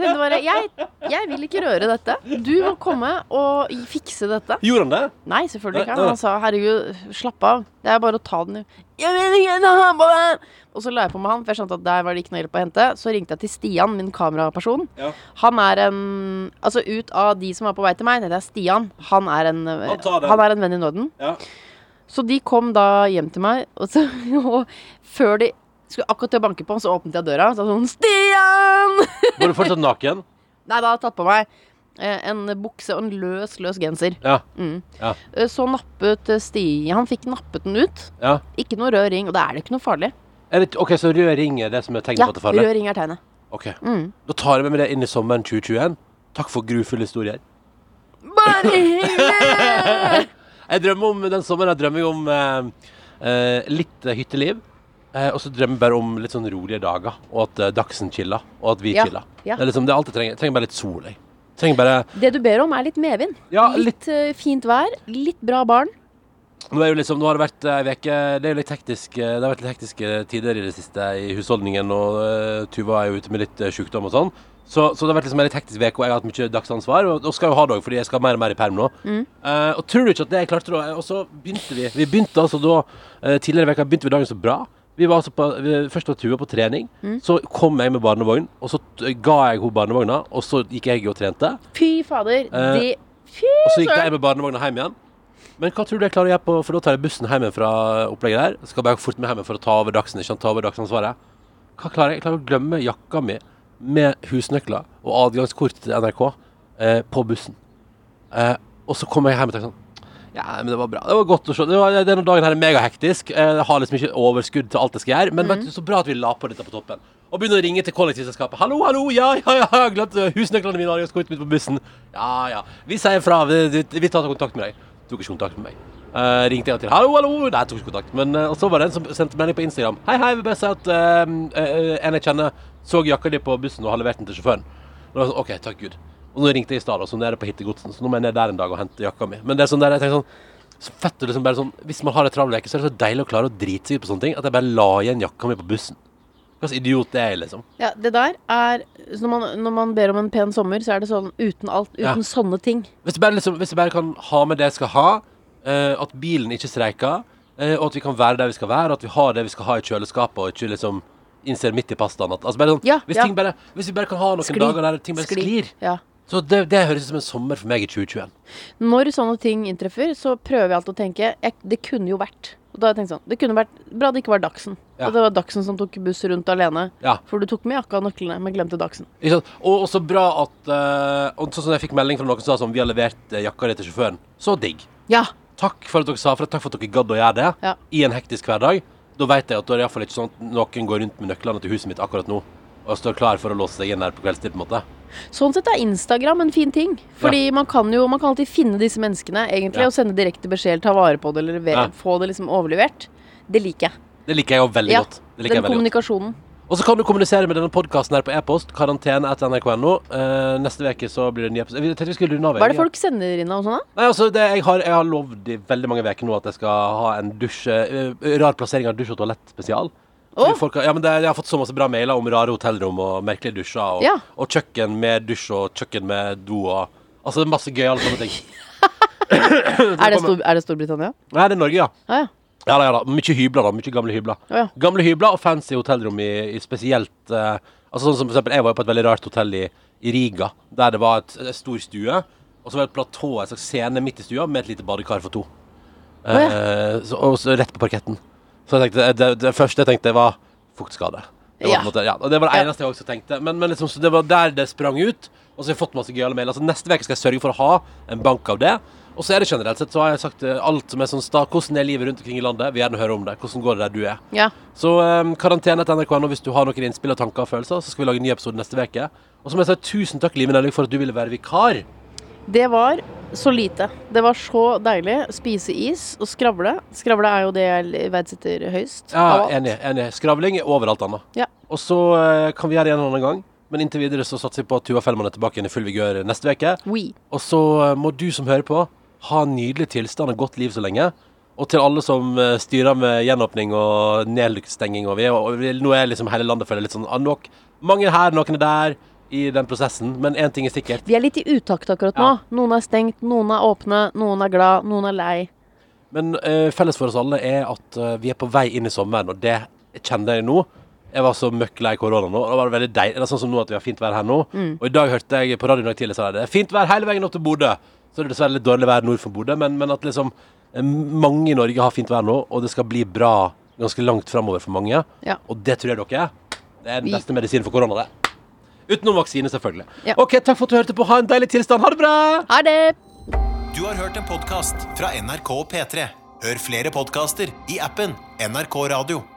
Speaker 4: Hun bare jeg, jeg vil ikke røre dette. Du må komme og fikse dette.
Speaker 3: Gjorde han det?
Speaker 4: Nei, selvfølgelig ikke.
Speaker 3: Nei, nei.
Speaker 4: Han sa 'herregud, slapp av'. Det er bare å ta den i Jeg vil ikke ta på den! Og så la jeg på med han, for jeg skjønte at der var det ikke noe hjelp å hente. Så ringte jeg til Stian, min kameraperson.
Speaker 3: Ja.
Speaker 4: Han er en Altså ut av de som var på vei til meg, det er Stian. Han er en,
Speaker 3: tar den.
Speaker 4: han er en venn i Norden.
Speaker 3: Ja.
Speaker 4: Så de kom da hjem til meg, og, så, <laughs> og før de skulle akkurat til å banke på, så åpnet jeg døra og sa sånn 'Stian!'
Speaker 3: Var du fortsatt naken?
Speaker 4: Nei, da hadde jeg tatt på meg eh, en bukse og en løs, løs genser.
Speaker 3: Ja.
Speaker 4: Mm.
Speaker 3: Ja.
Speaker 4: Eh, Så nappet eh, Stian Han fikk nappet den ut.
Speaker 3: ja.
Speaker 4: Ikke noe rød ring, og da er det ikke noe farlig.
Speaker 3: Er det, ok, Så rød ring er det som er tegnet
Speaker 4: Ja,
Speaker 3: på at det er farlig?
Speaker 4: rød ring er tegnet.
Speaker 3: Ok,
Speaker 4: Mm.
Speaker 3: Da tar jeg med meg det inn i sommeren 2021. Takk for grufulle historier.
Speaker 4: <laughs> Bare hyggelig!
Speaker 3: Jeg drømmer om den sommeren jeg drømmer jeg om eh, eh, litt eh, hytteliv. Eh, og så drømmer jeg bare om litt sånn rolige dager, og at eh, dagsen chiller, og at vi
Speaker 4: Ja,
Speaker 3: chiller.
Speaker 4: ja.
Speaker 3: Det er liksom det jeg alltid trenger. Jeg trenger bare litt sol. Jeg. Trenger bare
Speaker 4: Det du ber om, er litt medvind.
Speaker 3: Ja,
Speaker 4: litt eh, fint vær, litt bra barn.
Speaker 3: Nå, er jo liksom, nå har det vært eh, ei uke Det er jo litt hektisk eh, Det har vært litt hektiske tider i det siste i husholdningen, og eh, Tuva er jo ute med litt eh, sykdom og sånn. Så, så det har vært liksom en litt hektisk uke, og jeg har hatt mye dagsansvar. Og, og skal jo ha det òg, fordi jeg skal mer og mer i perm nå. Eh, og tror du ikke at det jeg klarte da Og så begynte vi. Vi begynte altså da eh, Tidligere i veka begynte vi dagen så bra. Vi var altså på, vi, først var Tuva på trening. Så kom jeg med barnevogn, og så t ga jeg henne barnevogna, og så gikk jeg og trente.
Speaker 4: Fy fader,
Speaker 3: Eh,
Speaker 4: de Fy
Speaker 3: Og så gikk
Speaker 4: søren!
Speaker 3: jeg med barnevogna hjem igjen. Men hva tror du jeg klarer å gjøre på For da tar jeg bussen hjem igjen fra opplegget der. Skal bare fort med hjem igjen for å ta over dagsen, ikke sant? Ta over dagsansvaret. Hva klarer jeg? Jeg klarer å glemme jakka mi med husnøkler og adgangskort til NRK eh, på bussen. Eh, og så kommer jeg hjem og tenker sånn Ja, men det var bra. Det var godt å se. Det var, denne dagen her er megahektisk. Eh, Jeg har liksom ikke overskudd til alt jeg skal gjøre. Men vet du, så bra at vi la på dette på toppen. Og begynner å ringe til kollektivselskapet. 'Hallo, hallo, ja, ja, ja, jeg har glemt eh, husnøklene mine og skoet mitt på bussen.' 'Ja, ja, vi sier fra. Vi, vi- vi tar kontakt med deg.' Tok ikke kontakt med meg. Eh, ringte en gang til. 'Hallo, hallo.' Nei, tok ikke kontakt. Men eh, og så var det en som sendte melding på Instagram. 'Hei, hei, vil bare si at eh, eh, en jeg kjenner, så jakka di på bussen og har levert den til sjåføren.' Og da var jeg sånn, ok, takk Gud. Og nå ringte jeg i stad, og så nå er det på hittegodsen. Så nå må jeg ned der en dag og hente jakka mi. Men det er sånn der, jeg tenker sånn, så fett det liksom bare sånn, hvis man har en travel uke, så er det så deilig å klare å drite seg ut på sånne ting, at jeg bare la igjen jakka mi på bussen. Hva slags idiot det er, jeg, liksom.
Speaker 4: Ja, det der er så når, man, når man ber om en pen sommer, så er det sånn uten alt.
Speaker 3: Ja.
Speaker 4: Uten sånne ting.
Speaker 3: Hvis jeg bare, liksom, hvis jeg bare kan ha med det jeg skal ha, eh, at bilen ikke streiker, eh, og at vi kan være der vi skal være, og at vi har det vi skal ha i kjøleskapet, og ikke liksom innser midt i pastaen at altså bare sånn,
Speaker 4: Ja,
Speaker 3: hvis,
Speaker 4: ja.
Speaker 3: ting bare, hvis vi bare kan ha noen dager der ting bare sklir.
Speaker 4: Ja.
Speaker 3: Så det, det høres ut som en sommer for meg i 2021.
Speaker 4: Når sånne ting inntreffer, så prøver jeg alltid å tenke jeg, Det kunne jo vært. Og da har jeg tenkt sånn Det kunne vært bra det ikke var Dagsen.
Speaker 3: Ja.
Speaker 4: Og det var Dagsen som tok buss rundt alene.
Speaker 3: Ja.
Speaker 4: For du tok med jakka og nøklene, men glemte Dagsen.
Speaker 3: Ikke sant? Og også bra at eh, og Sånn som jeg fikk melding fra noen som sa sånn Vi har levert eh, jakka di til sjåføren. Så digg.
Speaker 4: Ja.
Speaker 3: Takk for at dere sa fra. Takk for at dere gadd å gjøre det
Speaker 4: Ja.
Speaker 3: i en hektisk hverdag. Da vet jeg at da er det iallfall ikke sånn at noen går rundt med nøklene til huset mitt akkurat nå og står klar for å låse seg inn der på kveldstid, på en måte.
Speaker 4: Sånn sett er Instagram en fin ting. Fordi man kan jo man kan alltid finne disse menneskene egentlig,
Speaker 3: Ja.
Speaker 4: og sende direkte beskjed, ta vare på det eller lever-
Speaker 3: Ja.
Speaker 4: få det liksom overlevert. Det liker jeg.
Speaker 3: Det liker jeg jo veldig
Speaker 4: Ja,
Speaker 3: godt. Det liker jeg
Speaker 4: Den
Speaker 3: veldig godt.
Speaker 4: kommunikasjonen.
Speaker 3: Og så kan du kommunisere med denne podkasten her på e-post, karantene etter nrk.no. Eh, neste uke så blir det en ny episode. Jeg tenkte vi skulle runde av.
Speaker 4: Hva er det
Speaker 3: egentlig.
Speaker 4: folk sender inn av og sånn, da?
Speaker 3: Nei, altså, det, jeg, har, jeg har lovd i veldig mange uker nå at jeg skal ha en dusj eh, Rar plassering av dusj og toalett spesial. Fordi
Speaker 4: Å!
Speaker 3: Folk, har- ja, men det, jeg har fått så masse bra mailer om rare hotellrom og merkelige dusjer. Og,
Speaker 4: Ja.
Speaker 3: og kjøkken med dusj og kjøkken med do og Altså det er masse gøyale sånne ting.
Speaker 4: Er det, Stor, er det Storbritannia? Ah,
Speaker 3: Nei, det er Norge, ja.
Speaker 4: Ja, ja.
Speaker 3: Ja da, ja da. Mye hybler, da. Mye gamle hybler.
Speaker 4: Å, ja.
Speaker 3: Gamle hybler og fancy hotellrom i, i spesielt eh, Altså sånn som for eksempel, Jeg var jo på et veldig rart hotell i, i Riga, der det var et, en stor stue. Og så var det et platå, en slags scene midt i stua, med et lite badekar for to.
Speaker 4: ja.
Speaker 3: Eh, så, og så rett på parketten. Så jeg tenkte, det, det første jeg tenkte, var fuktskade. Det var,
Speaker 4: Ja.
Speaker 3: på en måte, ja, og det var det
Speaker 4: Ja.
Speaker 3: eneste jeg også tenkte. Men, men liksom, så det var der det sprang ut. Og så har jeg fått masse gøyale mailer. Så neste uke skal jeg sørge for å ha en bank av det. Og så er det generelt sett, så har jeg sagt eh, alt som er sånn sta, hvordan er livet rundt omkring i landet. Vil gjerne høre om det. Hvordan går det der du er.
Speaker 4: ja.
Speaker 3: Så um, karantene til NRK nå hvis du har noen innspill og tanker og følelser, så skal vi lage en ny episode neste uke. Og så må jeg si tusen takk, Live Nelling, for at du ville være vikar.
Speaker 4: Det var så lite. Det var så deilig. Spise is og skravle. Skravle er jo det jeg verdsetter høyst.
Speaker 3: Ja,
Speaker 4: av alt.
Speaker 3: enig. enig. Skravling er overalt annet.
Speaker 4: Ja.
Speaker 3: Og så eh, kan vi gjøre det igjen en annen gang. Men inntil videre så satser vi på at Tuva Fellmann er tilbake igjen i full vigør neste uke.
Speaker 4: Oui.
Speaker 3: Og så eh, må du som hører på, ha en nydelig tilstand og godt liv så lenge. Og til alle som eh, styrer med gjenåpning og nedstenging og vi, er- og vi, Nå er liksom hele landet føler litt sånn ah, nok, Mange er her, noen er der i den prosessen. Men én ting er sikkert.
Speaker 4: Vi er litt i utakt akkurat nå.
Speaker 3: Ja.
Speaker 4: Noen er stengt, noen er åpne, noen er glad, noen er lei.
Speaker 3: Men eh, felles for oss alle er at eh, vi er på vei inn i sommeren, og det kjenner jeg nå. Jeg var så møkk lei korona nå. og Det var veldig deilig. Det er sånn som nå at vi har fint vær her nå.
Speaker 4: Mm.
Speaker 3: Og i dag hørte jeg på radioen i dag tidlig sa de det er fint vær hele veien opp til Bodø. Så det er dessverre litt dårlig vær nord for Bodø, men, men at liksom eh, mange i Norge har fint vær nå, og det skal bli bra ganske langt framover for mange.
Speaker 4: Ja.
Speaker 3: Og det tror jeg dere er. Det er den
Speaker 4: Vi-
Speaker 3: beste medisinen for korona, det. Utenom vaksine, selvfølgelig.
Speaker 4: Ja.
Speaker 3: OK, takk for at du hørte på. Ha en deilig tilstand. Ha det bra!
Speaker 4: Ha det!
Speaker 1: Du har hørt en podcast fra NRK P3. Hør flere podcaster i appen NRK Radio.